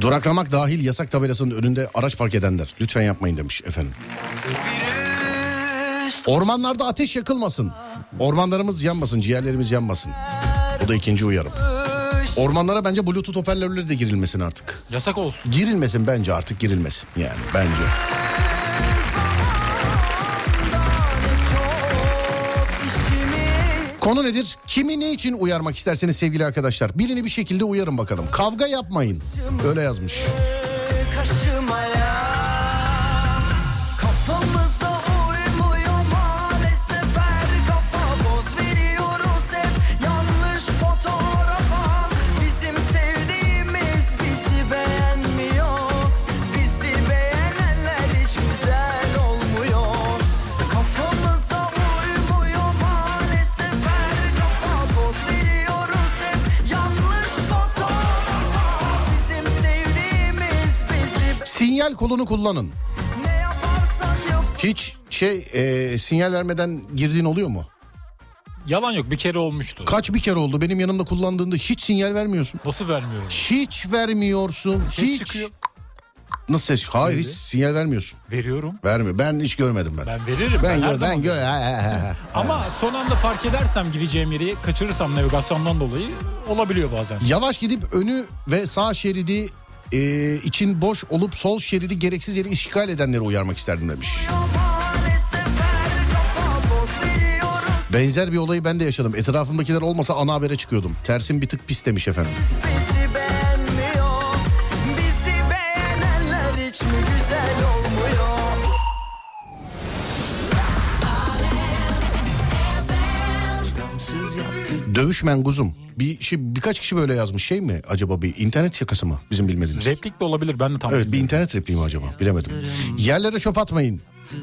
Duraklamak dahil yasak tabelasının önünde araç park edenler lütfen yapmayın demiş efendim. Ormanlarda ateş yakılmasın. Ormanlarımız yanmasın, ciğerlerimiz yanmasın. Bu da ikinci uyarım. Ormanlara bence bluetooth hoparlörleri de girilmesin artık.
Yasak olsun.
Girilmesin bence artık girilmesin yani bence.
Çok iş
Konu nedir? Kimi ne için uyarmak isterseniz sevgili arkadaşlar. Birini bir şekilde uyarın bakalım. Kavga yapmayın. Öyle yazmış.
kaşımaya Kafamıza uymuyor maalesef her kafa boz veriyoruz hep yanlış fotoğrafa Bizim sevdiğimiz bizi beğenmiyor Bizi beğenenler hiç güzel olmuyor Kafamıza uymuyor maalesef her kafa boz veriyoruz hep yanlış fotoğrafa Bizim sevdiğimiz bizi
Sinyal kolunu kullanın.
ne yaparsak yap
Hiç şey e, sinyal vermeden girdiğin oluyor mu?
Yalan yok bir kere olmuştu.
Kaç bir kere oldu benim yanımda kullandığında hiç sinyal vermiyorsun.
Nasıl vermiyorum?
Hiç vermiyorsun.
Ses
hiç.
çıkıyor.
Nasıl ses? Hayır
Neydi?
hiç sinyal vermiyorsun.
Veriyorum.
Vermiyor. Ben hiç görmedim ben.
Ben veririm.
Ben
her
gö-
zaman
ben gö-
veririm.
he- he- he- he.
Ama son anda fark edersem gireceğim yeri kaçırırsam navigasyondan dolayı olabiliyor bazen.
Yavaş gidip önü ve sağ şeridi e, için boş olup sol şeridi gereksiz yere işgal edenleri uyarmak isterdim demiş.
maalesef her kafa boz veriyoruz
Benzer bir olayı ben de yaşadım. Etrafımdakiler olmasa ana habere çıkıyordum. Tersim bir tık pis demiş efendim.
bizi beğenmiyor Bizi beğenenler hiç mi güzel olmuyor
Dövüşmen kuzum. Bir şey, birkaç kişi böyle yazmış şey mi acaba bir internet şakası mı bizim bilmediğimiz?
Replik de olabilir ben de tam
Evet bir
bilmiyorum.
internet repliği mi acaba bilemedim. Yerlere çöp atmayın.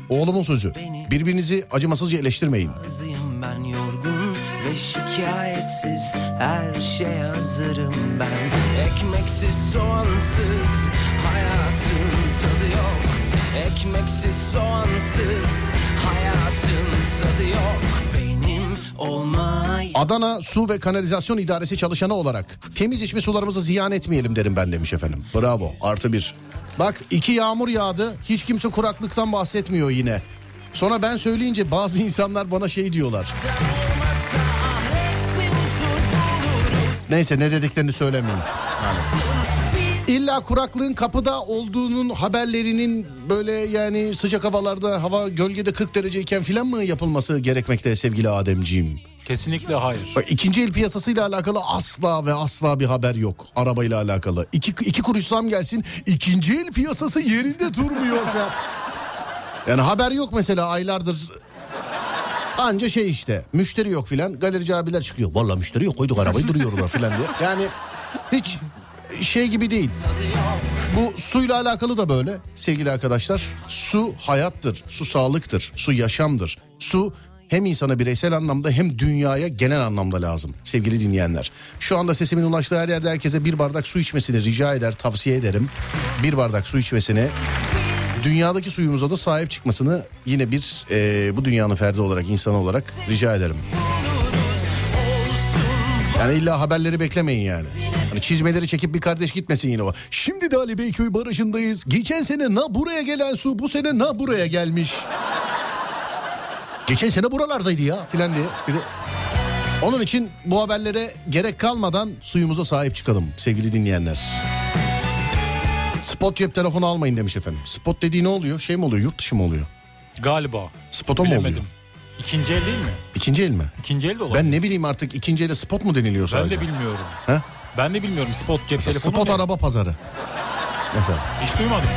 Oğlumun sözü. Birbirinizi acımasızca eleştirmeyin.
razıyım ben yorgun ve şikayetsiz her şeye hazırım ben Ekmeksiz soğansız hayatın tadı yok Ekmeksiz soğansız hayatın tadı yok Benim olmayı
Adana Su ve Kanalizasyon İdaresi çalışanı olarak temiz içme sularımızı ziyan etmeyelim derim ben demiş efendim. Bravo artı bir. Bak iki yağmur yağdı hiç kimse kuraklıktan bahsetmiyor yine. Sonra ben söyleyince bazı insanlar bana şey diyorlar. Neyse ne dediklerini söylemeyeyim. Yani. İlla kuraklığın kapıda olduğunun haberlerinin böyle yani sıcak havalarda hava gölgede 40 dereceyken filan mı yapılması gerekmekte sevgili Ademciğim?
Kesinlikle hayır.
Bak, İkinci el piyasasıyla alakalı asla ve asla bir haber yok. Arabayla alakalı. İki, iki kuruş zam gelsin ikinci el piyasası yerinde durmuyor falan. Yani haber yok mesela aylardır. Anca şey işte müşteri yok filan. Galerici abiler çıkıyor. Vallahi müşteri yok koyduk arabayı duruyorlar filan diye. Yani hiç şey gibi değil. Bu suyla alakalı da böyle sevgili arkadaşlar. Su hayattır, su sağlıktır, su yaşamdır. Su hem insana bireysel anlamda hem dünyaya genel anlamda lazım sevgili dinleyenler. Şu anda sesimin ulaştığı her yerde herkese bir bardak su içmesini rica eder, tavsiye ederim. Bir bardak su içmesini, dünyadaki suyumuza da sahip çıkmasını yine bir e, bu dünyanın ferdi olarak, insan olarak rica ederim. Yani illa haberleri beklemeyin yani. Hani çizmeleri çekip bir kardeş gitmesin yine o. Şimdi de Ali Beyköy barajındayız. Geçen sene na buraya gelen su bu sene na buraya gelmiş. Geçen sene buralardaydı ya filan diye. Bir de- Onun için bu haberlere gerek kalmadan suyumuza sahip çıkalım sevgili dinleyenler. Spot cep telefonu almayın demiş efendim. Spot dediği ne oluyor? Şey mi oluyor? Yurt dışı mı oluyor?
Galiba.
Spota mı oluyor?
Bilemedim. İkinci el değil mi?
İkinci el mi?
İkinci el de olabilir.
Ben ne bileyim artık ikinci ele spot mu deniliyor
Ben,
sadece?
de bilmiyorum.
He?
Ben de bilmiyorum spot cep
Mesela
telefonu.
Spot
ne?
araba pazarı. Mesela.
Hiç duymadım.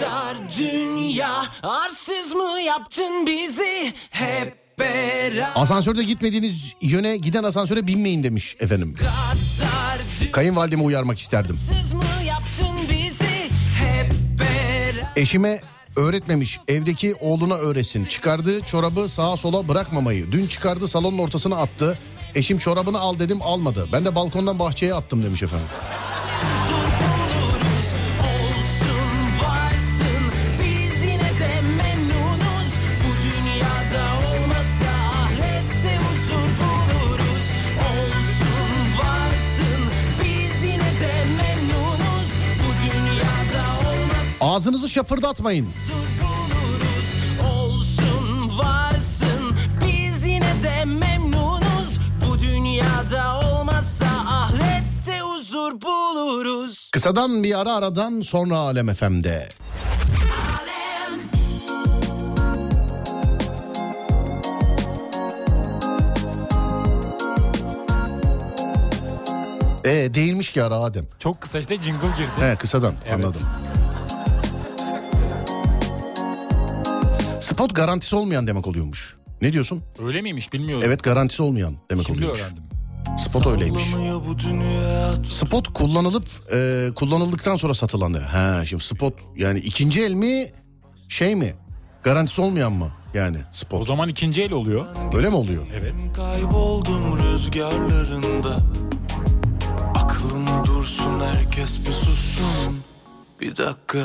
Dar dünya arsız mı yaptın bizi hep beraber
Asansörde gitmediğiniz yöne giden asansöre binmeyin demiş efendim.
Dar
Kayınvalidemi uyarmak isterdim.
dünyasız mı yaptın bizi hep beraber
Eşime öğretmemiş evdeki oğluna öğretsin. Çıkardığı çorabı sağa sola bırakmamayı. Dün çıkardı salonun ortasına attı. Eşim çorabını al dedim almadı. Ben de balkondan bahçeye attım demiş efendim.
Olsun varsın biz yine de memnunuz Bu dünyada olmasa ahirette huzur buluruz Olsun varsın biz yine de memnunuz Bu dünyada olmasa
Ağzınızı şapırdatmayın.
huzur buluruz Olsun varsın biz yine de memnunuz Bu dünyada olmasa ahirette huzur buluruz
Kısadan bir ara aradan sonra Alem FM'de.
Alem
E, değilmiş ki ara Adem.
Çok kısa işte jingle girdi.
He kısadan
Evet.
anladım. Spot garantisi olmayan demek oluyormuş. Ne diyorsun?
Öyle miymiş bilmiyorum.
Evet garantisi olmayan demek
Şimdi
oluyormuş.
öğrendim.
Spot öyleymiş. Spot kullanılıp e, kullanıldıktan sonra satılanı. Ha şimdi spot yani ikinci el mi şey mi? Garantisi olmayan mı? Yani spot.
O zaman ikinci el oluyor.
Öyle mi oluyor?
Evet.
Kayboldum rüzgarlarında Aklım dursun herkes bir sussun Bir dakika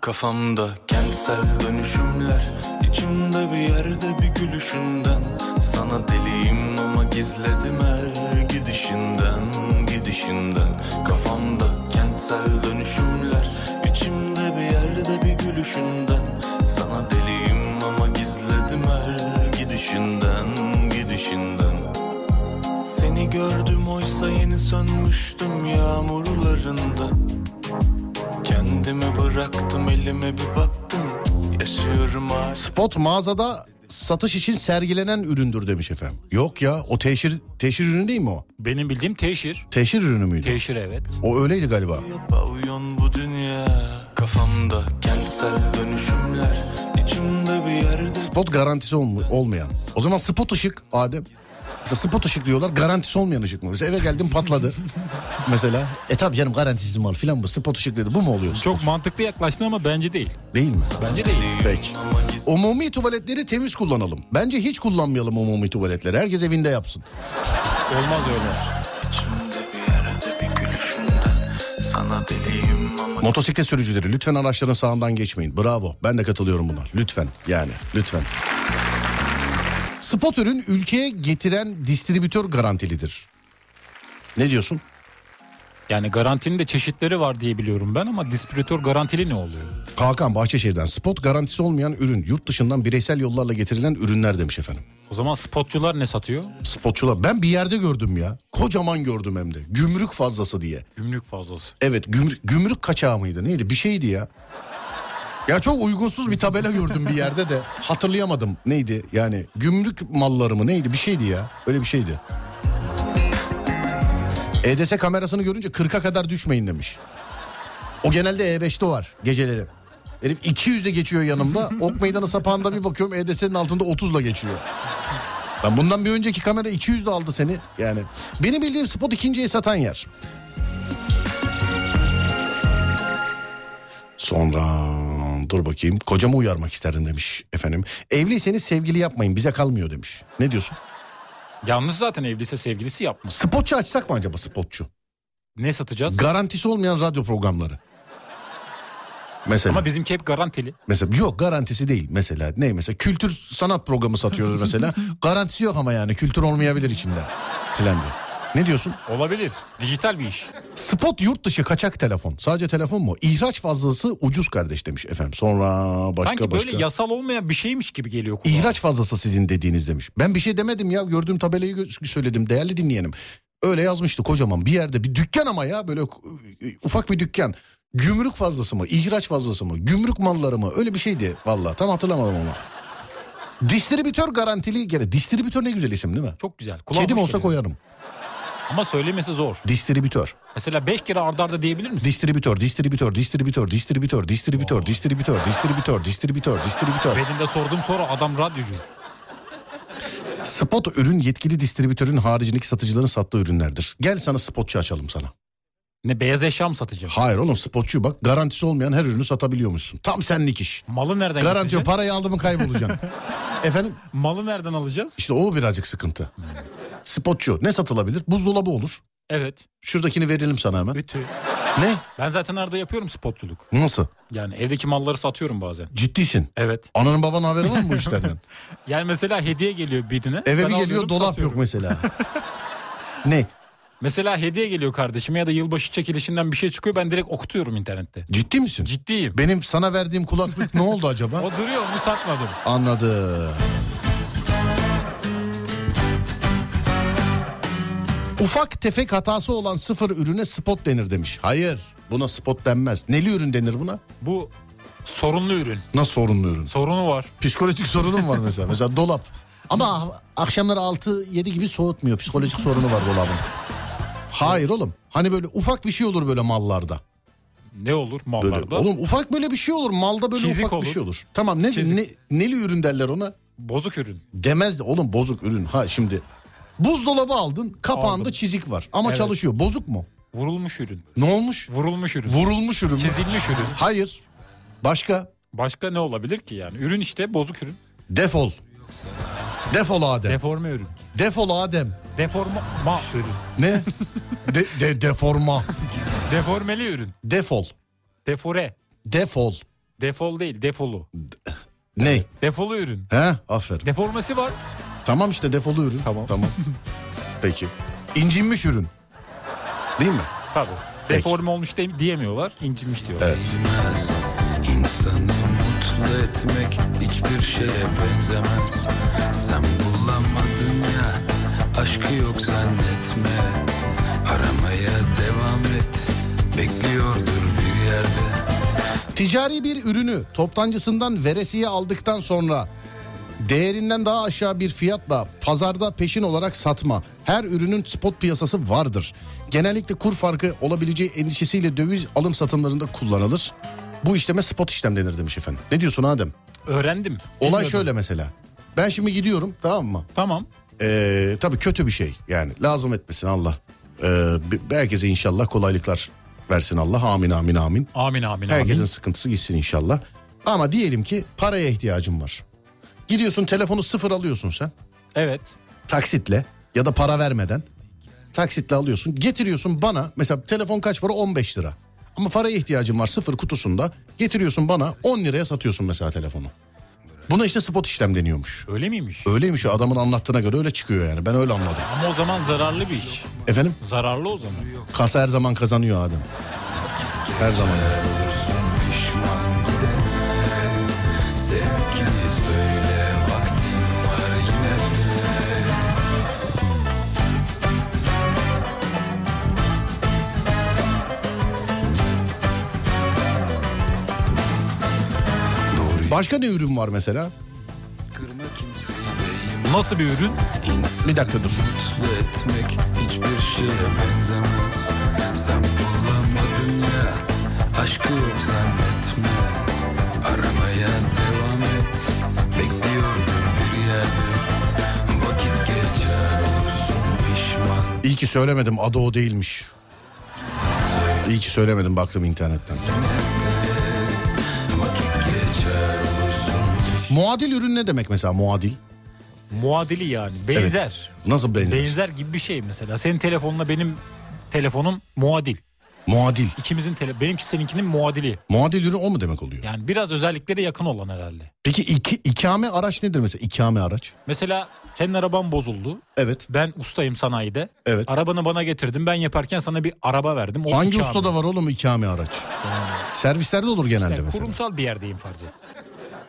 Kafamda kentsel dönüşümler içimde bir yerde bir gülüşünden Sana deliyim ama gizledim her gidişinden Gidişinden Kafamda kentsel dönüşümler içimde bir yerde bir gülüşünden Sana deliyim ama gizledim her gidişinden Gidişinden Seni gördüm oysa yeni sönmüştüm yağmurlarında Kendimi bıraktım elime bir baktım Yaşıyorum hala
Spot mağazada satış için sergilenen üründür demiş efendim. Yok ya o teşhir, teşhir ürünü değil mi o?
Benim bildiğim teşhir.
Teşhir ürünü müydü?
Teşhir evet.
O öyleydi galiba.
Pavyon bu dünya Kafamda kentsel dönüşümler içimde bir yerde
Spot garantisi olm- olmayan. O zaman spot ışık Adem. Mesela spot ışık diyorlar garantisi olmayan ışık mı? Mesela eve geldim patladı. Mesela e tabi canım garantisiz mal filan bu spot ışık dedi. Bu mu oluyor?
Çok mantıklı yaklaştın ama bence değil.
Değil mi?
Bence değil.
Peki. Umumi tuvaletleri temiz kullanalım. Bence hiç kullanmayalım umumi tuvaletleri. Herkes evinde yapsın.
Olmaz öyle.
içimde bir yerde bir gülüşünden Sana deliyim ama
Motosiklet sürücüleri lütfen araçların sağından geçmeyin. Bravo. Ben de katılıyorum buna. Lütfen yani lütfen. Spot ürün ülkeye getiren distribütör garantilidir. Ne diyorsun?
Yani garantinin de çeşitleri var diye biliyorum ben ama distribütör garantili ne oluyor?
Hakan Bahçeşehir'den spot garantisi olmayan ürün yurt dışından bireysel yollarla getirilen ürünler demiş efendim.
O zaman spotçular ne satıyor?
Spotçular ben bir yerde gördüm ya. Kocaman gördüm hem de. Gümrük fazlası diye.
Gümrük fazlası.
Evet gümrük, gümrük kaçağı mıydı neydi bir şeydi ya. Ya çok uygunsuz bir tabela gördüm bir yerde de hatırlayamadım neydi yani gümrük malları mı neydi bir şeydi ya öyle bir şeydi. EDS kamerasını görünce 40'a kadar düşmeyin demiş. O genelde E5'te var geceleri. Herif 200'e geçiyor yanımda. Ok meydanı sapağında bir bakıyorum EDS'nin altında 30'la geçiyor. Ben bundan bir önceki kamera 200'de aldı seni. Yani benim bildiğim spot ikinciye satan yer. Sonra dur bakayım kocamı uyarmak isterdim demiş efendim. Evliyseniz sevgili yapmayın bize kalmıyor demiş. Ne diyorsun?
Yalnız zaten evliyse sevgilisi yapmış.
Spotçu açsak mı acaba spotçu?
Ne satacağız?
Garantisi olmayan radyo programları. Mesela
ama bizimki hep garantili.
mesela yok garantisi değil mesela ne mesela kültür sanat programı satıyoruz mesela garantisi yok ama yani kültür olmayabilir içinde filan diye. Ne diyorsun?
Olabilir. Dijital bir iş.
Spot yurt dışı kaçak telefon. Sadece telefon mu? İhraç fazlası ucuz kardeş demiş efendim. Sonra başka
Sanki
başka.
böyle yasal olmayan bir şeymiş gibi geliyor kulağa.
İhraç fazlası sizin dediğiniz demiş. Ben bir şey demedim ya gördüğüm tabelayı gö- söyledim değerli dinleyenim. Öyle yazmıştı kocaman bir yerde bir dükkan ama ya böyle e, ufak bir dükkan. Gümrük fazlası mı ihraç fazlası mı gümrük malları mı öyle bir şeydi valla tam hatırlamadım ama. Distribütör garantili gene distribütör ne güzel isim değil mi?
Çok güzel. Kulağa
Kedim
hoş
olsa
geliyor.
koyarım.
Ama söylemesi zor.
Distribütör.
Mesela 5 kere ardarda arda diyebilir misin?
Distribütör, distribütör, distribütör, distribütör, distribütör, distribütör, distribütör, distribütör, distribütör.
Benim de sorduğum soru adam radyocu.
Spot ürün yetkili distribütörün haricindeki satıcıların sattığı ürünlerdir. Gel sana spotçu açalım sana.
Ne beyaz eşya mı satacak?
Hayır oğlum spotçu bak garantisi olmayan her ürünü satabiliyormuşsun. Tam senlik iş.
Malı nereden
Garanti yok
getirecek?
parayı aldı mı kaybolacaksın. Efendim
Malı nereden alacağız?
işte o birazcık sıkıntı. Spotçu ne satılabilir? Buzdolabı olur.
Evet.
Şuradakini verelim sana hemen.
Ütü.
Ne?
Ben zaten arada yapıyorum spotçuluk.
Nasıl?
Yani evdeki malları satıyorum bazen.
Ciddisin.
Evet.
Ananın babanın haberi var mı bu işlerden?
Yani mesela hediye geliyor birine. ben
Eve bir geliyor
alıyorum,
dolap
satıyorum.
yok mesela. ne?
Mesela hediye geliyor kardeşime ya da yılbaşı çekilişinden bir şey çıkıyor ben direkt okutuyorum internette.
Ciddi misin?
Ciddiyim.
Benim sana verdiğim kulaklık ne oldu acaba?
O duruyor onu satmadım.
Anladım. Ufak tefek hatası olan sıfır ürüne spot denir demiş. Hayır buna spot denmez. Neli ürün denir buna?
Bu sorunlu ürün.
Nasıl sorunlu ürün?
Sorunu var.
Psikolojik sorunum var mesela. mesela ah, dolap. Ama akşamları 6-7 gibi soğutmuyor. Psikolojik sorunu var dolabın. Hayır oğlum. Hani böyle ufak bir şey olur böyle mallarda.
Ne olur
Böyle
mallarda?
oğlum ufak böyle bir şey olur. Malda böyle
Çizik
ufak
olur.
bir şey olur. Tamam ne,
Çizik.
ne neli ürün derler ona?
Bozuk ürün.
Demez de oğlum bozuk ürün. Ha şimdi buzdolabı aldın. Kapağında
Aldım.
çizik var ama
Evet.
çalışıyor. Bozuk mu?
Vurulmuş ürün.
Ne olmuş?
Vurulmuş ürün.
Vurulmuş ürün mü?
Çizilmiş ürün.
Hayır. Başka?
Başka ne olabilir ki yani? Ürün işte bozuk ürün.
Defol. Defol Adem.
Deforme ürün.
Defol Adem.
Deforma ürün.
Ne? de, de- deforma.
Deformeli ürün.
Defol.
Defore.
Defol.
Defol değil defolu.
Ne?
Defolu ürün.
He? Aferin.
Deforması var.
Tamam işte defolu ürün.
Tamam.
Tamam. Peki. İncinmiş ürün. Değil mi?
Tabii.
Peki.
Deforme olmuş de- diyemiyorlar. incinmiş diyorlar.
Değmez. İnsanı mutlu etmek hiçbir şeye benzemez Sen bulamadın ya aşkı yok zannetme Aramaya devam et bekliyordur bir yerde
Ticari bir ürünü toptancısından veresiye aldıktan sonra değerinden daha aşağı bir fiyatla pazarda peşin olarak satma. Her ürünün spot piyasası vardır. Genellikle kur farkı olabileceği endişesiyle döviz alım satımlarında kullanılır. Bu işleme spot işlem denir demiş efendim. Ne diyorsun Adem?
Öğrendim.
Olay
Bilmiyordum.
şöyle mesela. Ben şimdi gidiyorum tamam mı?
Tamam.
Ee, tabii kötü bir şey yani lazım etmesin Allah. Ee, be- herkese inşallah kolaylıklar versin Allah amin amin amin.
Amin amin
Herkesin
amin.
sıkıntısı gitsin inşallah. Ama diyelim ki paraya ihtiyacın var. Gidiyorsun telefonu sıfır alıyorsun sen
Evet.
taksitle ya da para vermeden taksitle alıyorsun. Getiriyorsun bana mesela telefon kaç para 15 lira. Ama paraya ihtiyacın var sıfır kutusunda getiriyorsun bana 10 liraya satıyorsun mesela telefonu. Buna işte spot işlem deniyormuş.
Öyle miymiş?
Öyleymiş ya, adamın anlattığına göre öyle çıkıyor yani ben öyle anladım.
Ama o zaman zararlı bir iş.
Efendim?
Zararlı o zaman.
Kasa her zaman kazanıyor Adem. Her zaman.
Pişman gidenlere sevgili söyle vaktin var yine
Başka ne ürün var mesela?
Kırma kimseyi değmez
Nasıl bir ürün?
İnsanı
Bir dakika dur.
Mutlu etmek hiçbir şeye benzemez Sen bulamadın ya Aşkı yok zannetme Aramaya devam et Bekliyordur bir yerde Vakit geçer olursun pişman
İyi ki söylemedim adı o değilmiş. İyi ki söylemedim baktım internetten.
Vakit geçer olursun
Muadil ürün ne demek mesela muadil?
Muadili yani.
Evet.
Benzer.
Nasıl benzer?
Benzer gibi bir şey mesela. Senin telefonla benim telefonum muadil.
muadil.
İkimizin tele benimki seninkinin muadili.
Muadil ürün o mu demek oluyor?
Yani biraz özelliklere yakın olan herhalde.
Peki iki, ikame araç nedir mesela? İkame araç.
Mesela senin araban bozuldu.
Evet.
Ben ustayım sanayide.
Evet.
Arabanı bana getirdin. Ben yaparken sana bir araba verdim. O
Hangi
ikame.
ustada var oğlum ikame araç? Servislerde olur genelde
Yani
mesela.
kurumsal bir yerdeyim farz et.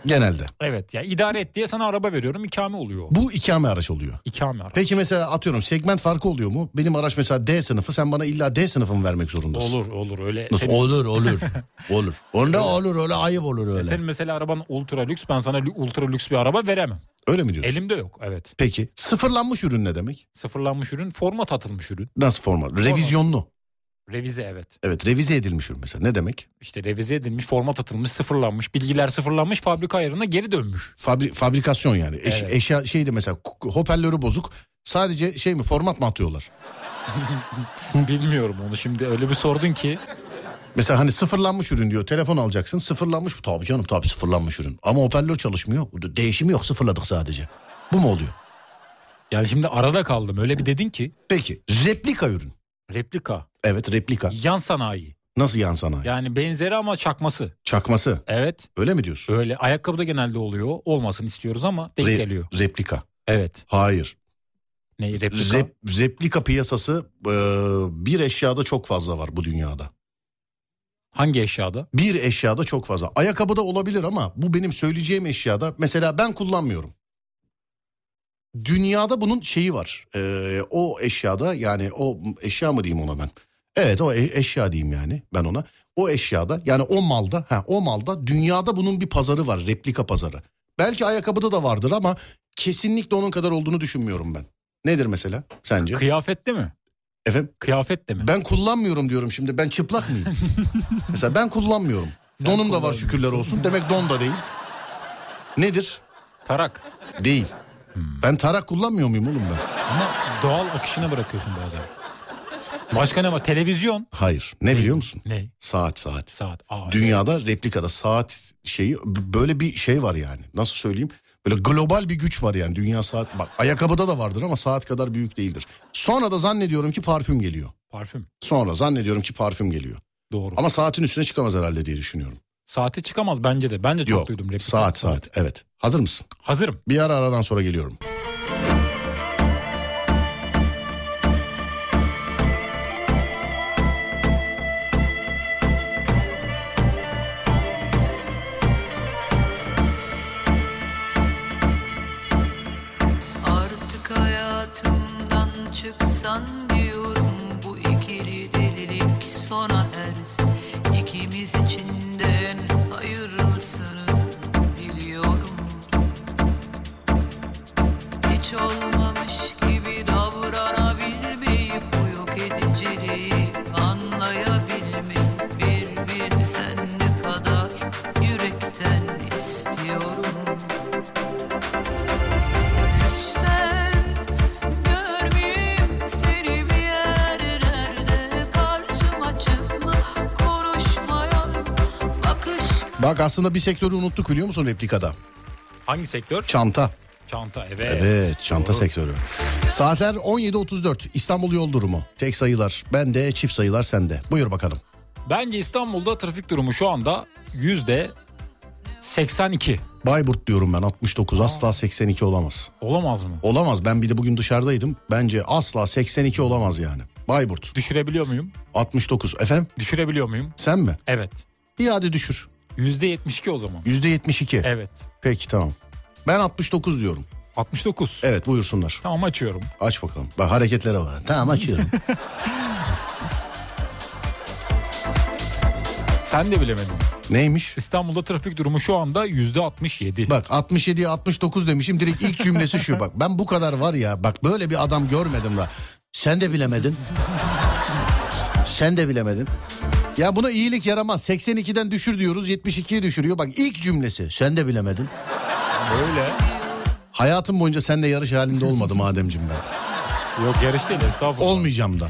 Genelde.
Evet ya idare et diye sana araba veriyorum. ikame oluyor. o.
Bu ikame araç oluyor.
İkame araba.
Peki mesela atıyorum segment farkı oluyor mu? Benim araç mesela D sınıfı sen bana illa D sınıfı mı vermek zorundasın?
Olur olur öyle.
Nasıl?
Senin, E,
Olur olur. olur. Onda olur öyle ayıp olur öyle.
senin mesela araban ultra lüks. Ben sana lü- ultra lüks bir araba veremem.
Öyle mi diyorsun?
Elimde yok evet.
Peki sıfırlanmış ürün ne demek?
Sıfırlanmış ürün, format atılmış ürün.
Nasıl format? Revizyonlu.
Revize evet.
Evet revize edilmiş ürün mesela ne demek?
İşte revize edilmiş, format atılmış, sıfırlanmış, bilgiler sıfırlanmış, fabrika ayarına geri dönmüş.
Fabri- fabrikasyon yani. Eş-
Evet.
Eşya şeydi mesela k- hoparlörü bozuk. Sadece şey mi format mı atıyorlar?
Bilmiyorum onu şimdi öyle bir sordun ki.
Mesela hani sıfırlanmış ürün diyor. Telefon alacaksın. Sıfırlanmış bu. Tabii canım tabii sıfırlanmış ürün. Ama hoparlör çalışmıyor. Burada Değişimi yok. Sıfırladık sadece. Bu mu oluyor?
Ya şimdi arada kaldım öyle bir dedin ki.
Peki replika ürün.
Replika,
Evet replika.
yan sanayi.
Nasıl yan sanayi?
Yani benzeri ama çakması.
Çakması.
Evet
Öyle mi diyorsun?
öyle. Ayakkabıda genelde oluyor. Olmasın istiyoruz ama denk
Re-
geliyor.
Replika.
Evet.
Hayır.
Ne replika?
Rep- replika piyasası e, bir eşyada çok fazla var bu dünyada.
Hangi eşyada?
Bir eşyada çok fazla. Ayakkabıda olabilir ama bu benim söyleyeceğim eşyada. Mesela ben kullanmıyorum. Dünyada bunun şeyi var. Ee, o eşyada yani o eşya mı diyeyim ona ben? Evet o e- eşya diyeyim yani ben ona. O eşyada yani o malda ha o malda dünyada bunun bir pazarı var replika pazarı. Belki ayakkabıda da vardır ama kesinlikle onun kadar olduğunu düşünmüyorum ben. Nedir mesela sence?
Kıyafette mi?
Efendim?
Kıyafet de mi?
Ben kullanmıyorum diyorum şimdi. Ben çıplak mıyım? Mesela ben kullanmıyorum. Donum da var şükürler olsun. Demek don da değil. Nedir?
Tarak.
Değil. Ben tarak kullanmıyor muyum oğlum ben?
Ama doğal akışına bırakıyorsun bazen. Başka ne var? Televizyon.
Hayır. Ne biliyor musun?
Ne?
Saat saat.
Saat. Aa,
Dünyada replikada saat şeyi b- böyle bir şey var yani. Nasıl söyleyeyim? Böyle global bir güç var yani. Dünya saat bak ayakkabıda da vardır ama saat kadar büyük değildir. Sonra da zannediyorum ki parfüm geliyor.
Parfüm.
Sonra zannediyorum ki parfüm geliyor.
Doğru.
Ama saatin üstüne çıkamaz herhalde diye düşünüyorum.
Saate çıkamaz bence de. Ben de çok
Yok.
duydum. replika.
Saat saat. Evet. Hazır mısın?
Hazırım.
Bir ara aradan sonra geliyorum.
Artık hayatımdan çıksan diyorum Bu ikili delilik sona ersin İkimiz içinden hayırlısını diliyorum Hiç olmamış gibi davranabilmeyi Bu yok ediciliği anlayabilmeyi Bir bir sen ne kadar yürekten istiyorum Sen görmeyeyim seni bir yerlerde Karşıma çıkma konuşmaya bakış
Bak aslında bir sektörü unuttuk biliyor musun replikada?
Hangi sektör?
Çanta.
Çanta. Evet.
Evet çanta
Doğru.
sektörü. Saatler 17.34 İstanbul yol durumu. Tek sayılar bende çift sayılar sende. Buyur bakalım.
Bence İstanbul'da trafik durumu şu anda yüzde 82.
Bayburt diyorum ben 69 asla 82 olamaz.
Olamaz mı?
Olamaz ben bir de bugün dışarıdaydım. Bence asla 82 olamaz yani. Bayburt
Düşürebiliyor muyum?
69 efendim
Düşürebiliyor muyum?
sen mi?
Evet.
İyi hadi düşür.
Yüzde 72 o zaman.
%72
Evet.
peki tamam. Ben 69 diyorum.
69.
Evet buyursunlar.
Tamam açıyorum.
Aç bakalım. Bak hareketlere bak. Tamam açıyorum.
Sen de bilemedin.
Neymiş?
İstanbul'da trafik durumu şu anda yüzde 67.
Bak 67'ye 69 demişim direkt ilk cümlesi şu bak. Ben bu kadar var ya bak böyle bir adam görmedim la. Sen de bilemedin. Sen de bilemedin. Ya buna iyilik yaramaz. 82'den düşür diyoruz 72'ye düşürüyor. Bak ilk cümlesi sen de bilemedin.
Böyle.
Hayatım boyunca seninle yarış halinde olmadım Ademciğim ben.
Yok yarış değil estağfurullah.
Olmayacağım da.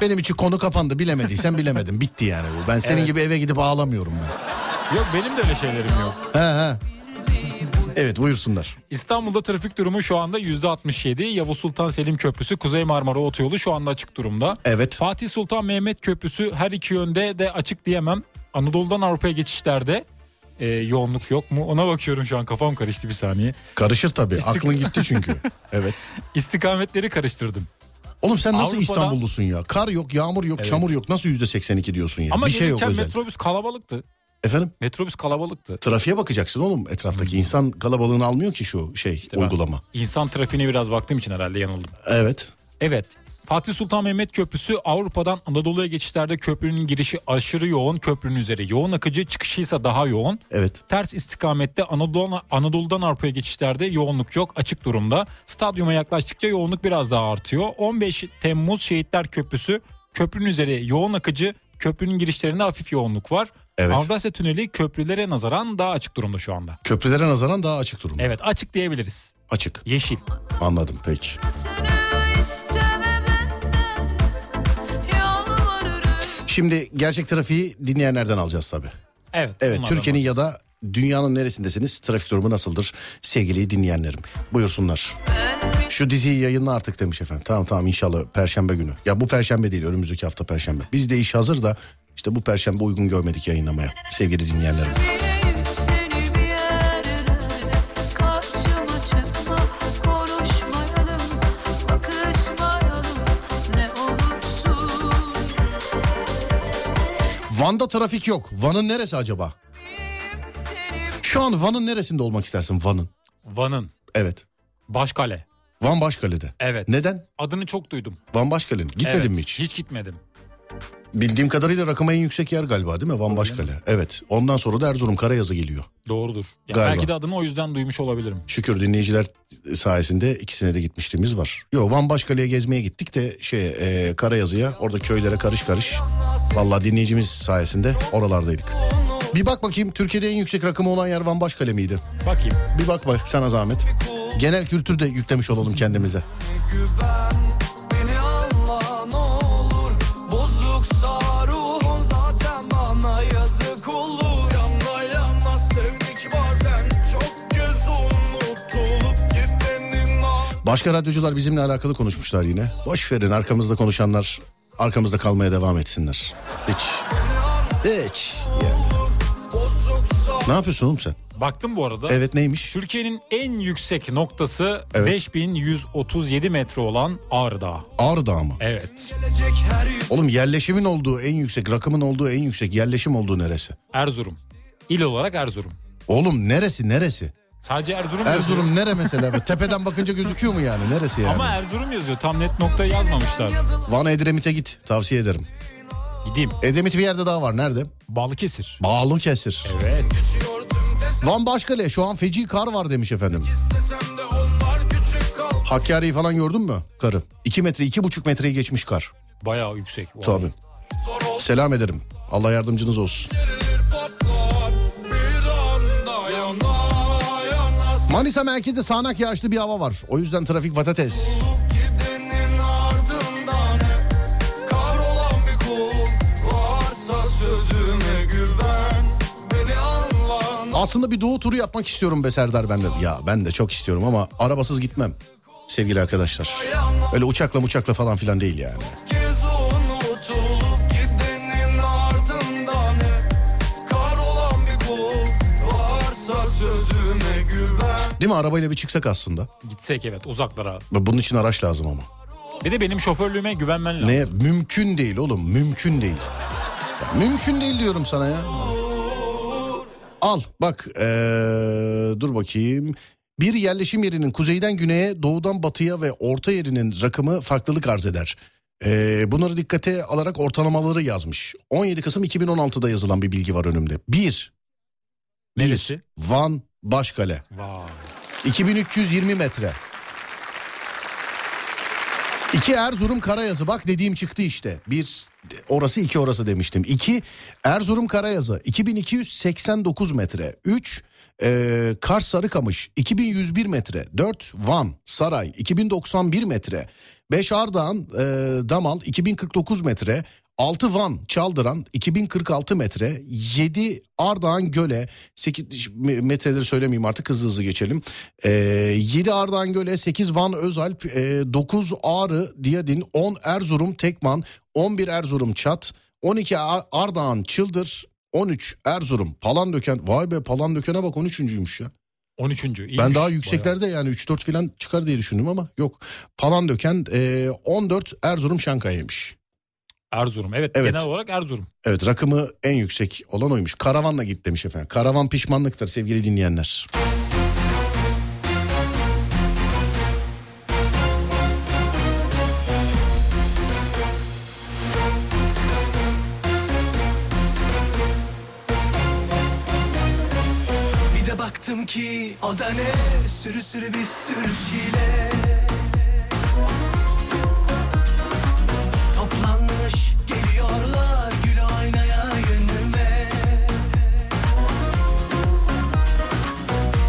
Benim için konu kapandı bilemediysen bilemedin. Bitti yani bu. Ben senin gibi eve gidip ağlamıyorum ben.
Yok benim de öyle şeylerim yok.
He he. Evet buyursunlar.
İstanbul'da trafik durumu şu anda yüzde 67. Yavuz Sultan Selim Köprüsü, Kuzey Marmara Otoyolu şu anda açık durumda.
Evet.
Fatih Sultan Mehmet Köprüsü her iki yönde de açık diyemem. Anadolu'dan Avrupa'ya geçişlerde e, yoğunluk yok mu? Ona bakıyorum şu an kafam karıştı bir saniye.
Karışır tabii. Aklın gitti çünkü. Evet.
İstikametleri karıştırdım.
Oğlum sen nasıl
Avrupa'dan-
İstanbullusun ya? Kar yok, yağmur yok, çamur yok. Nasıl yüzde 82 diyorsun ya?
Ama
bir şey yok
gelirken
özel.
metrobüs kalabalıktı.
Efendim?
Metrobüs kalabalıktı.
Trafiğe bakacaksın oğlum. Etraftaki insan kalabalığını almıyor ki şu şey
Hmm. ben-
uygulama.
İnsan trafiğine biraz baktığım için herhalde yanıldım.
Evet.
Evet. Fatih Sultan Mehmet Köprüsü Avrupa'dan Anadolu'ya geçişlerde köprünün girişi aşırı yoğun, köprünün üzeri yoğun akıcı, çıkışı ise daha yoğun.
Evet.
Ters istikamette Anadolu, Anadolu'dan Avrupa'ya geçişlerde yoğunluk yok açık durumda. Stadyuma yaklaştıkça yoğunluk biraz daha artıyor. 15 Temmuz Şehitler Köprüsü köprünün üzeri yoğun akıcı köprünün girişlerinde hafif yoğunluk var.
Evet.
Avrasya Tüneli köprülere nazaran daha açık durumda şu anda.
Köprülere nazaran daha açık durum.
Evet açık diyebiliriz.
Açık.
Yeşil.
Anladım peki.
Seni isteme benden Yalvarırım
Şimdi gerçek trafiği dinleyenlerden alacağız tabii.
Evet.
Evet
bunlardan
Türkiye'nin ya
bahsedeceğiz.
da dünyanın neresindesiniz? Trafik durumu nasıldır? Sevgili dinleyenlerim buyursunlar. Şu diziyi yayınla artık demiş efendim. Tamam tamam inşallah perşembe günü. Ya bu perşembe değil önümüzdeki hafta perşembe. Biz de iş hazır da işte bu perşembe uygun görmedik yayınlamaya. Sevgili dinleyenlerim.
bileyim seni bir yerlerde Karşıma çıkma konuşmayalım Bakışmayalım ne olursun
Van'da trafik yok. Van'ın neresi acaba?
Seni
Şu an Van'ın neresinde olmak istersin Van'ın?
Van'ın.
Evet.
Başkale.
Van Başkale'de.
Evet.
Neden?
Adını çok duydum.
Van Başkale'nin. Gitmedin
Evet,
mi hiç?
Hiç gitmedim.
Bildiğim kadarıyla rakım en yüksek yer galiba değil mi? Van Başkale. Evet. Ondan sonra da Erzurum Karayazı geliyor.
Doğrudur. Ya
Galiba.
belki de adını o yüzden duymuş olabilirim.
Şükür dinleyiciler sayesinde ikisine de gitmişliğimiz var. Yo Van Başkale'ye gezmeye gittik de şey e, Karayazı'ya orada köylere karış karış. Vallahi dinleyicimiz sayesinde oralardaydık. Bir bak bakayım Türkiye'de en yüksek rakımı olan yer Van Başkale miydi?
Bakayım.
Bir bak bak sana zahmet. Genel kültür de yüklemiş olalım kendimize.
Beni anla ne olur Bozuksa ruhun zaten bana yazık olur Yanla yanla sevdik bazen Çok göz unutulup gidenin
Başka radyocular bizimle alakalı konuşmuşlar yine. Boş verin arkamızda konuşanlar arkamızda kalmaya devam etsinler. Hiç. Hiç. yani. Ne yapıyorsun oğlum sen?
Baktım bu arada.
Evet neymiş?
Türkiye'nin en yüksek noktası
Evet.
5137 metre olan Ağrı Dağı.
Ağrı Dağı mı?
Evet.
Oğlum yerleşimin olduğu en yüksek, rakımın olduğu en yüksek yerleşim olduğu neresi?
Erzurum. İl olarak Erzurum.
Oğlum neresi neresi?
Sadece Erzurum yazıyor.
Erzurum nere mesela? Böyle Tepeden bakınca gözüküyor mu yani? Neresi yani?
Ama Erzurum yazıyor. Tam net noktayı yazmamışlar.
Van Edremit'e git. Tavsiye ederim.
Gideyim.
Edremit bir yerde daha var. Nerede?
Balıkesir.
Bağlıkesir.
Evet.
Van Başkale. Şu an feci kar var demiş efendim. Hakkari'yi falan gördün mü? Karı. 2 metre, iki buçuk metreyi geçmiş kar.
Bayağı yüksek. Vay.
Tabii. Selam ederim. Allah yardımcınız olsun. Manisa merkezde sağanak yağışlı bir hava var. O yüzden trafik patates.
Gidenin ardından hep Kahrolan bir kul Varsa sözüme güven Beni anla
Aslında bir doğu turu yapmak istiyorum be Serdar ben de. Ya ben de çok istiyorum ama arabasız gitmem. Sevgili arkadaşlar. Öyle uçakla uçakla falan filan değil yani.
Kez unutulup gidenin ardından hep Kahrolan bir kul Varsa sözüme güven
Değil mi arabayla bir çıksak aslında.
Gitsek evet uzaklara.
Ve Bunun için araç lazım ama.
Bir de benim şoförlüğüme güvenmen lazım.
Ne mümkün değil oğlum mümkün değil. Ya mümkün değil diyorum sana ya. Al bak ee, dur bakayım. Bir yerleşim yerinin kuzeyden güneye, doğudan batıya ve orta yerinin rakımı farklılık arz eder. E, bunları dikkate alarak ortalamaları yazmış. 17 Kasım 2016'da yazılan bir bilgi var önümde. 1.
Neresi?
Van Başkale.
Vay.
2320 metre. 2 Erzurum Karayazı bak dediğim çıktı işte. Bir orası iki orası demiştim. 2 Erzurum Karayazı 2289 metre. 3 e, Kars Sarıkamış 2101 metre. 4 Van Saray 2091 metre. 5 Ardahan e, Damal 2049 metre. 6 Van Çaldıran 2046 metre. 7 Ardahan Göle 8 metreleri söylemeyeyim artık hızlı hızlı geçelim. E, 7 Ardahan Göle 8 Van Özalp e, 9 Ağrı Diyadin 10 Erzurum Tekman 11 Erzurum Çat 12 Ar- Ardahan Çıldır 13 Erzurum Palandöken vay be Palandöken'e bak 13.'üymüş ya.
13. İyiymiş.
Ben daha
Bayağı.
yükseklerde yani 3-4 filan çıkar diye düşündüm ama yok. Palandöken e, 14 Erzurum Şankaya'ymış.
Erzurum. Evet,
Evet.
genel olarak Erzurum.
Evet rakımı en yüksek olan oymuş. Karavanla git demiş efendim. Karavan pişmanlıktır sevgili dinleyenler.
Bir de baktım ki o da ne Sürü sürü bir sürü çile Toplanmış geliyorlar Gül oynaya yönüme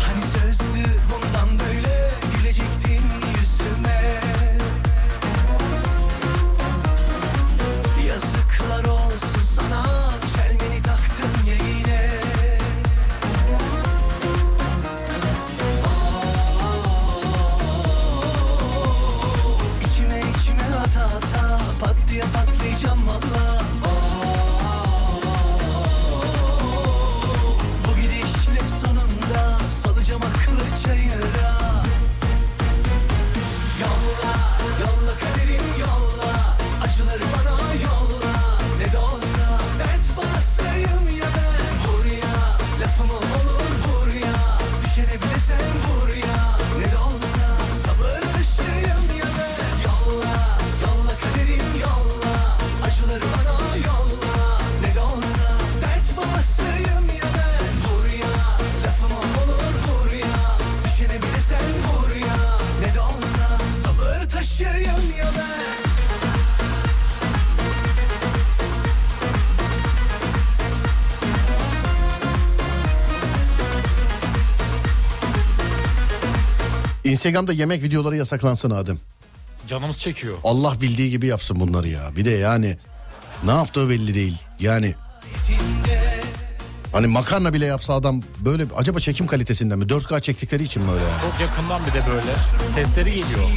Hani sözdü bundan böyle Gülecektin yüzüme Yazıklar olsun sana Çelmeni taktın ya yine
Instagram'da yemek videoları yasaklansın Adem.
Canımız çekiyor.
Allah bildiği gibi yapsın bunları ya. Bir de yani ne yaptığı belli değil. Yani hani makarna bile yapsa adam böyle acaba çekim kalitesinden mi? 4K çektikleri için mi öyle ya?
Çok yakından bir de böyle sesleri geliyor.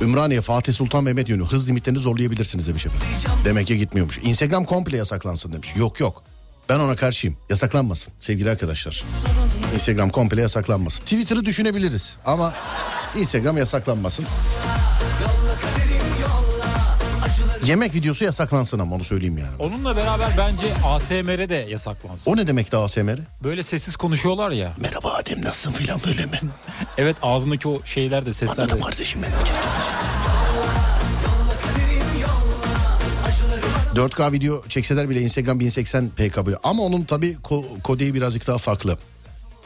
Ümraniye Fatih Sultan Mehmet yönü hız limitlerini zorlayabilirsiniz demiş efendim. Demek ki gitmiyormuş. Instagram komple yasaklansın demiş. Yok yok. Ben ona karşıyım. Yasaklanmasın sevgili arkadaşlar. Instagram komple yasaklanmasın. Twitter'ı düşünebiliriz ama Instagram yasaklanmasın. Yemek videosu yasaklansın ama onu söyleyeyim yani.
Onunla beraber bence ASMR de yasaklansın.
O ne demek daha ASMR?
Böyle sessiz konuşuyorlar ya.
Merhaba Adem nasılsın filan böyle mi?
Evet ağzındaki o şeyler de sesler de.
Anladım kardeşim ben. 4K video çekseler bile Instagram 1080p kabul. Ama onun tabii ko- kodeyi birazcık daha farklı.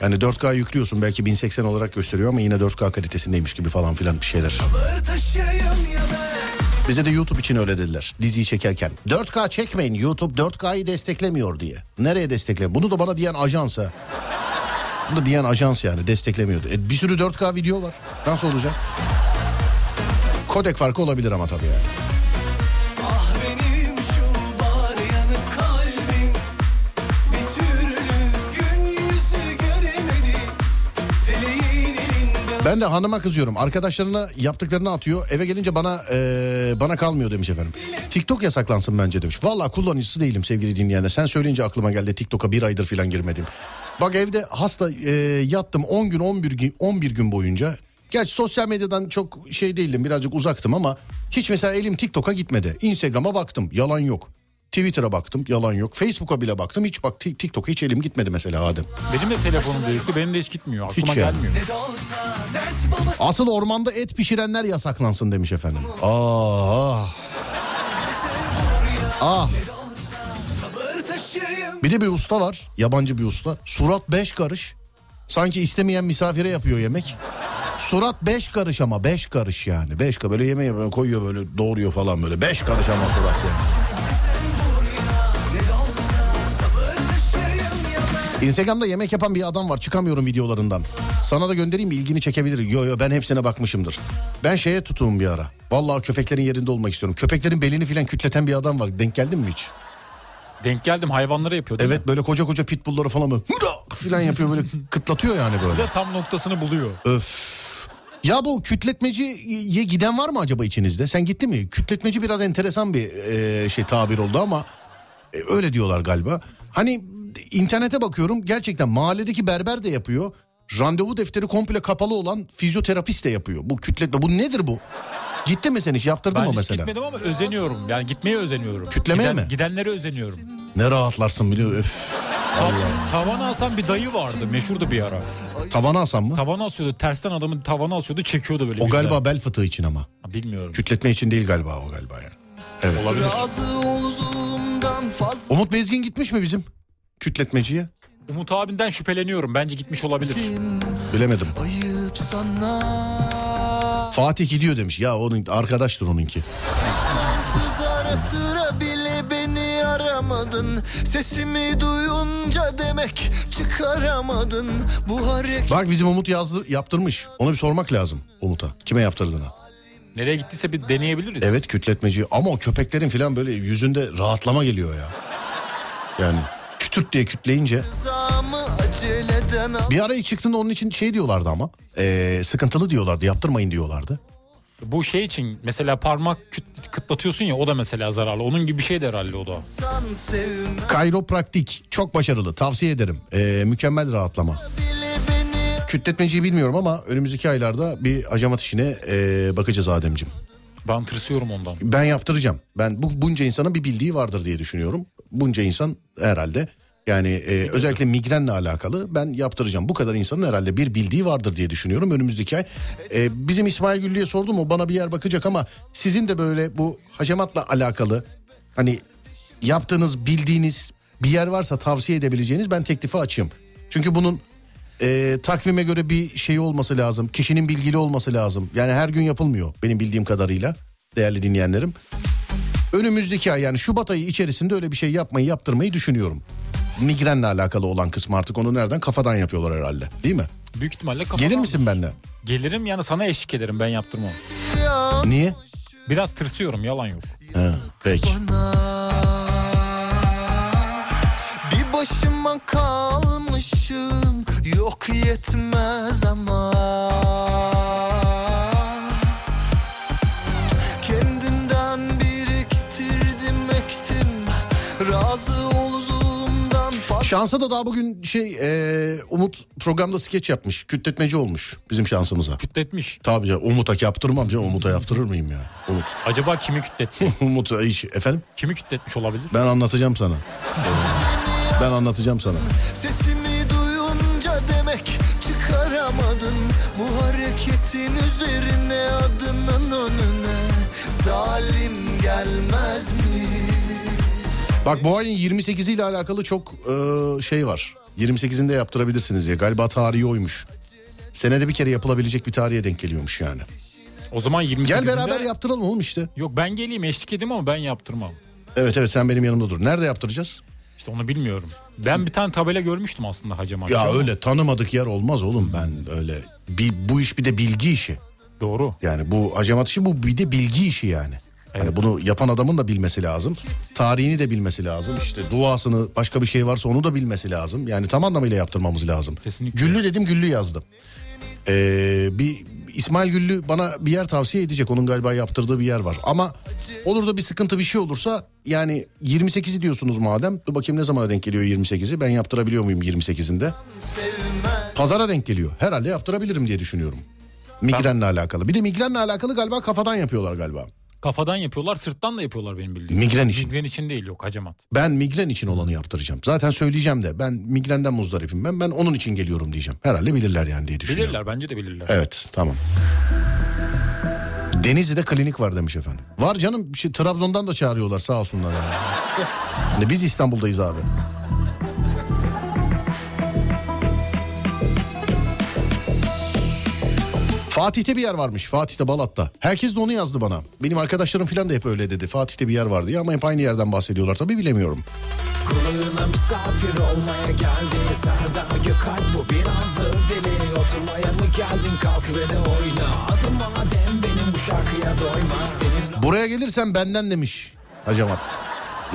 Yani 4K yüklüyorsun belki 1080 olarak gösteriyor ama yine 4K kalitesindeymiş gibi falan filan bir şeyler.
taşıyım ya ben
Bize de YouTube için öyle dediler diziyi çekerken. 4K çekmeyin YouTube 4K'yı desteklemiyor diye. Nereye destekle? Bunu da bana diyen ajans ha. Bunu da diyen ajans yani desteklemiyordu. E, bir sürü 4K video var. Nasıl olacak? Kodek farkı olabilir ama tabii yani.
Ah benim şu bar yanık kalbim Bir türlü gün yüzü göremedi Dileğin elinde
Ben de hanıma kızıyorum. Arkadaşlarına yaptıklarını atıyor. Eve gelince bana eee, bana kalmıyor demiş efendim. TikTok yasaklansın bence demiş. Valla kullanıcısı değilim sevgili dinleyenler. Sen söyleyince aklıma geldi TikTok'a bir aydır falan girmedim. Bak evde hasta eee, yattım 10 gün 11 gün 11 gün boyunca. Gerçi sosyal medyadan çok şey değildim birazcık uzaktım ama hiç mesela elim TikTok'a gitmedi. Instagram'a baktım yalan yok. Twitter'a baktım yalan yok. Facebook'a bile baktım hiç bak Tik- TikTok'a hiç elim gitmedi mesela Adem.
Benim de telefonum düdüklü benim de hiç gitmiyor. Aklıma
Hiç yani.
gelmiyor.
de olsa dert babası
Asıl ormanda et pişirenler yasaklansın demiş efendim. Aa, ah. Ah,
Sabır taşıyım
bir de bir usta var. Yabancı bir usta. Surat beş karış. Sanki istemeyen misafire yapıyor yemek. Surat beş karış ama beş karış yani. Beş karış böyle yemeği böyle koyuyor böyle doğruyor falan böyle. Beş karış ama surat yani. Instagram'da yemek yapan bir adam var çıkamıyorum videolarından. Sana da göndereyim mi ilgini çekebilir. Yo yo ben hepsine bakmışımdır. Ben şeye tutuğum bir ara. Vallahi köpeklerin yerinde olmak istiyorum. Köpeklerin belini filan kütleten bir adam var. Denk geldin mi hiç?
Denk geldim hayvanlara yapıyor değil mi?
Evet böyle koca koca pitbullları falan böyle "Hırak!" falan yapıyor böyle kıtlatıyor yani
Bir
böyle.
de tam noktasını buluyor.
Öf. Ya bu kütletmeciye giden var mı acaba içinizde? Sen gitti mi? Kütletmeci biraz enteresan bir e, şey tabir oldu ama e, öyle diyorlar galiba. Hani internete bakıyorum gerçekten mahalledeki berber de yapıyor. Randevu defteri komple kapalı olan fizyoterapist de yapıyor. Bu kütletme bu nedir bu? Gitti mi sen hiç yaptırdın
Ben
mı
hiç
mesela?
gitmedim ama özeniyorum. Yani gitmeye özeniyorum.
Kütlemeye mi?
Gidenlere özeniyorum.
Ne rahatlarsın biliyor öf.
Tav- tavana asan bir dayı vardı. Meşhurdu bir ara.
Tavana asan mı?
Tavana asıyordu. Tersten adamın tavana asıyordu. Çekiyordu böyle.
o
birden.
galiba bel fıtığı için ama.
Ha, Bilmiyorum.
Kütletme için değil galiba o galiba yani. Evet.
Razı olduğumdan fazla
Umut Bezgin gitmiş mi bizim kütletmeciye?
Umut abinden şüpheleniyorum. Bence gitmiş olabilir.
Bilemedim.
Ayıp sana
Fatih gidiyor demiş. Ya onun arkadaştır onunki.
Kız ara sıra bile beni aramadın Sesimi duyunca demek çıkaramadın Bu hareket
Bak bizim Umut yazdır, yaptırmış. Ona bir sormak lazım Umut'a. Kime yaptırdığını.
Nereye gittiyse bir deneyebiliriz.
Evet kütletmeci ama o köpeklerin falan böyle yüzünde rahatlama geliyor ya. Yani kütürt diye kütleyince.
zamı aceleden al
Bir ara ilk çıktığında onun için şey diyorlardı ama. eee, sıkıntılı diyorlardı yaptırmayın diyorlardı.
Bu şey için mesela parmak küt- kıtlatıyorsun ya o da mesela zararlı. Onun gibi bir şey de herhalde o da.
Sen sevme
Kayropraktik çok başarılı tavsiye ederim. Eee, mükemmel rahatlama.
bile beni
Kütletmeciyi bilmiyorum ama önümüzdeki aylarda bir acamat işine eee, bakacağız Ademciğim.
Ben tırsıyorum ondan.
Ben yaptıracağım. Ben bu bunca insanın bir bildiği vardır diye düşünüyorum. Bunca insan herhalde yani e, özellikle migrenle alakalı ben yaptıracağım. Bu kadar insanın herhalde bir bildiği vardır diye düşünüyorum önümüzdeki ay. E, bizim İsmail Güllü'ye sordum o bana bir yer bakacak ama sizin de böyle bu hacamatla alakalı hani yaptığınız bildiğiniz bir yer varsa tavsiye edebileceğiniz ben teklifi açayım. Çünkü bunun e, takvime göre bir şey olması lazım. Kişinin bilgili olması lazım. Yani her gün yapılmıyor benim bildiğim kadarıyla değerli dinleyenlerim. Önümüzdeki ay yani Şubat ayı içerisinde öyle bir şey yapmayı yaptırmayı düşünüyorum. Migrenle alakalı olan kısmı artık onu nereden kafadan yapıyorlar herhalde değil mi?
Büyük ihtimalle kafadan.
Gelir misin benimle?
Gelirim yani sana eşlik ederim ben yaptırmam.
Niye?
Biraz tırsıyorum yalan yok.
He, peki.
Bir başıma kalmışım yok yetmez ama Kendimden biriktirdim ektim razı olduğumdan fazla
Şansa da daha bugün şey e, Umut programda skeç yapmış. Kütletmeci olmuş bizim şansımıza.
Kütletmiş.
Tabii canım Umut'a yaptırmam canım Umut'a yaptırır mıyım ya? Umut.
Acaba kimi kütletti?
Umut'a iş efendim
kimi kütletmiş olabilir?
ben anlatacağım sana. Ben anlatacağım sana.
Sesimi duyunca demek çıkaramadın Bu hareketin üzerine adının önüne Zalim gelmez mi?
Bak bu ayın 28 ile alakalı çok e, şey var. 28'inde yaptırabilirsiniz diye. Galiba tarihi oymuş. Senede bir kere yapılabilecek bir tarihe denk geliyormuş yani.
O zaman 28'inde...
Gel beraber yaptıralım oğlum işte.
Yok ben geleyim eşlik edeyim ama ben yaptırmam.
Evet evet sen benim yanımda dur. Nerede yaptıracağız?
İşte onu bilmiyorum. Ben bir tane tabela görmüştüm aslında hacı Maçı
Ya
ama-
öyle tanımadık yer olmaz oğlum ben öyle. Bir, bu iş bir de bilgi işi.
Doğru.
Yani bu acemat işi bu bir de bilgi işi yani. Hani bunu yapan adamın da bilmesi lazım. Tarihini de bilmesi lazım. İşte duasını başka bir şey varsa onu da bilmesi lazım. Yani tam anlamıyla yaptırmamız lazım.
Kesinlikle.
Güllü dedim Güllü yazdım. Ee, bir İsmail Güllü bana bir yer tavsiye edecek. Onun galiba yaptırdığı bir yer var. Ama olur da bir sıkıntı bir şey olursa yani 28'i diyorsunuz madem. Dur bakayım ne zamana denk geliyor 28'i? Ben yaptırabiliyor muyum 28'inde? Pazara denk geliyor. Herhalde yaptırabilirim diye düşünüyorum. Migrenle alakalı. Bir de migrenle alakalı galiba kafadan yapıyorlar galiba.
Kafadan yapıyorlar sırttan da yapıyorlar benim bildiğim.
Migren için.
Migren için değil yok hacamat.
Ben migren için olanı yaptıracağım. Zaten söyleyeceğim de ben migrenden muzdaripim ben. Ben onun için geliyorum diyeceğim. Herhalde bilirler yani diye düşünüyorum.
Bilirler bence de bilirler.
Evet tamam. Denizli'de klinik var demiş efendim. Var canım bir şey, Trabzon'dan da çağırıyorlar sağ olsunlar. yani. Yani biz İstanbul'dayız abi. Fatih'te bir yer varmış. Fatih'te Balat'ta. Herkes de onu yazdı bana. Benim arkadaşlarım falan da hep öyle dedi. Fatih'te bir yer var diye ama hep aynı yerden bahsediyorlar tabii bilemiyorum.
Kulağına misafir olmaya geldi Serdar Gökalp bu bir hazır deli Oturmaya mı geldin kalk ve de oyna Adım madem benim bu şarkıya doymaz Senin
Buraya gelirsen benden demiş Hacamat.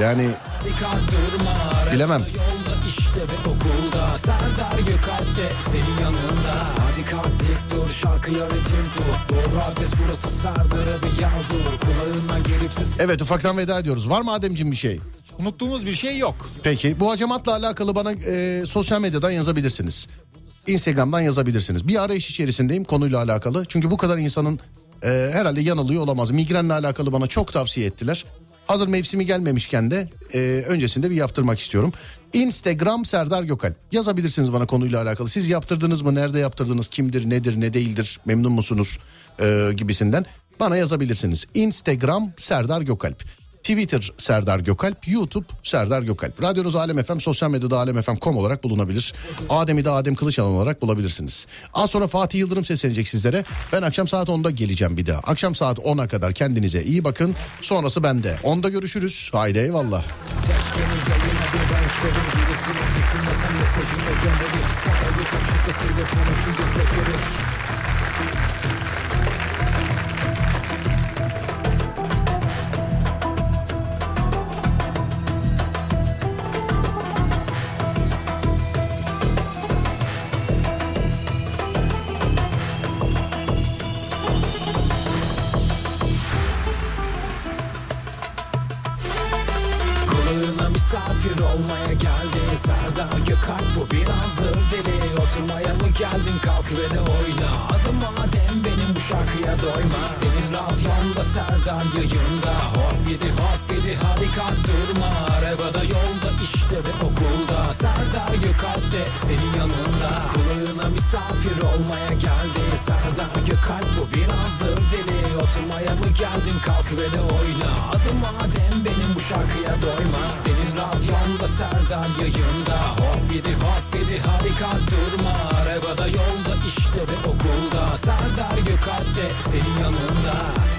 Yani
dikkat durma Arada
bilemem.
Yolda işte ve okulda Serdar Gökalp de senin yanında Hadi kalk dik dur şarkıya ritim tut Doğru adres burası Serdar'a bir yaz dur Kulağına gelip ses
Evet ufaktan veda ediyoruz. Var mı Ademciğim bir şey?
Unuttuğumuz bir şey yok.
Peki bu hacamatla alakalı bana e, sosyal medyadan yazabilirsiniz. Instagram'dan yazabilirsiniz. Bir arayış içerisindeyim konuyla alakalı. Çünkü bu kadar insanın e, herhalde yanılıyor olamaz. Migrenle alakalı bana çok tavsiye ettiler. Hazır mevsimi gelmemişken de e, öncesinde bir yaptırmak istiyorum. Instagram Serdar Gökalp. Yazabilirsiniz bana konuyla alakalı. Siz yaptırdınız mı? Nerede yaptırdınız? Kimdir? Nedir? Ne değildir? Memnun musunuz? E, gibisinden. Bana yazabilirsiniz. Instagram Serdar Gökalp. Twitter Serdar Gökalp, YouTube Serdar Gökalp. Radyonuz Alem FM, sosyal medyada alemfm.com olarak bulunabilir. Adem'i de Adem Kılıçalan olarak bulabilirsiniz. Az sonra Fatih Yıldırım seslenecek sizlere. Ben akşam saat 10'da geleceğim bir daha. Akşam saat 10'a kadar kendinize iyi bakın. Sonrası bende. 10'da görüşürüz. Haydi eyvallah.
Kulağına misafir olmaya geldi Serdar Gökalp bu bir hazır deli Oturmaya mı geldin kalk ve de oyna Adım madem benim bu şarkıya doymaz Senin radyonda Serdar yayında Hop gidi hop gidi hadi kalk durma Arabada yolda işte ve okulda Serdar Gökalp de senin yanında Kulağına misafir olmaya geldi Serdar Gökalp bu bir hazır deli Oturmaya mı geldin kalk ve de oyna Adım madem benim bu şarkıya doymaz Senin radyonda Serdar yayında Hop gidi hop gidi hadi kalk durma Arabada yolda işte ve okulda Serdar Gökalp de senin yanında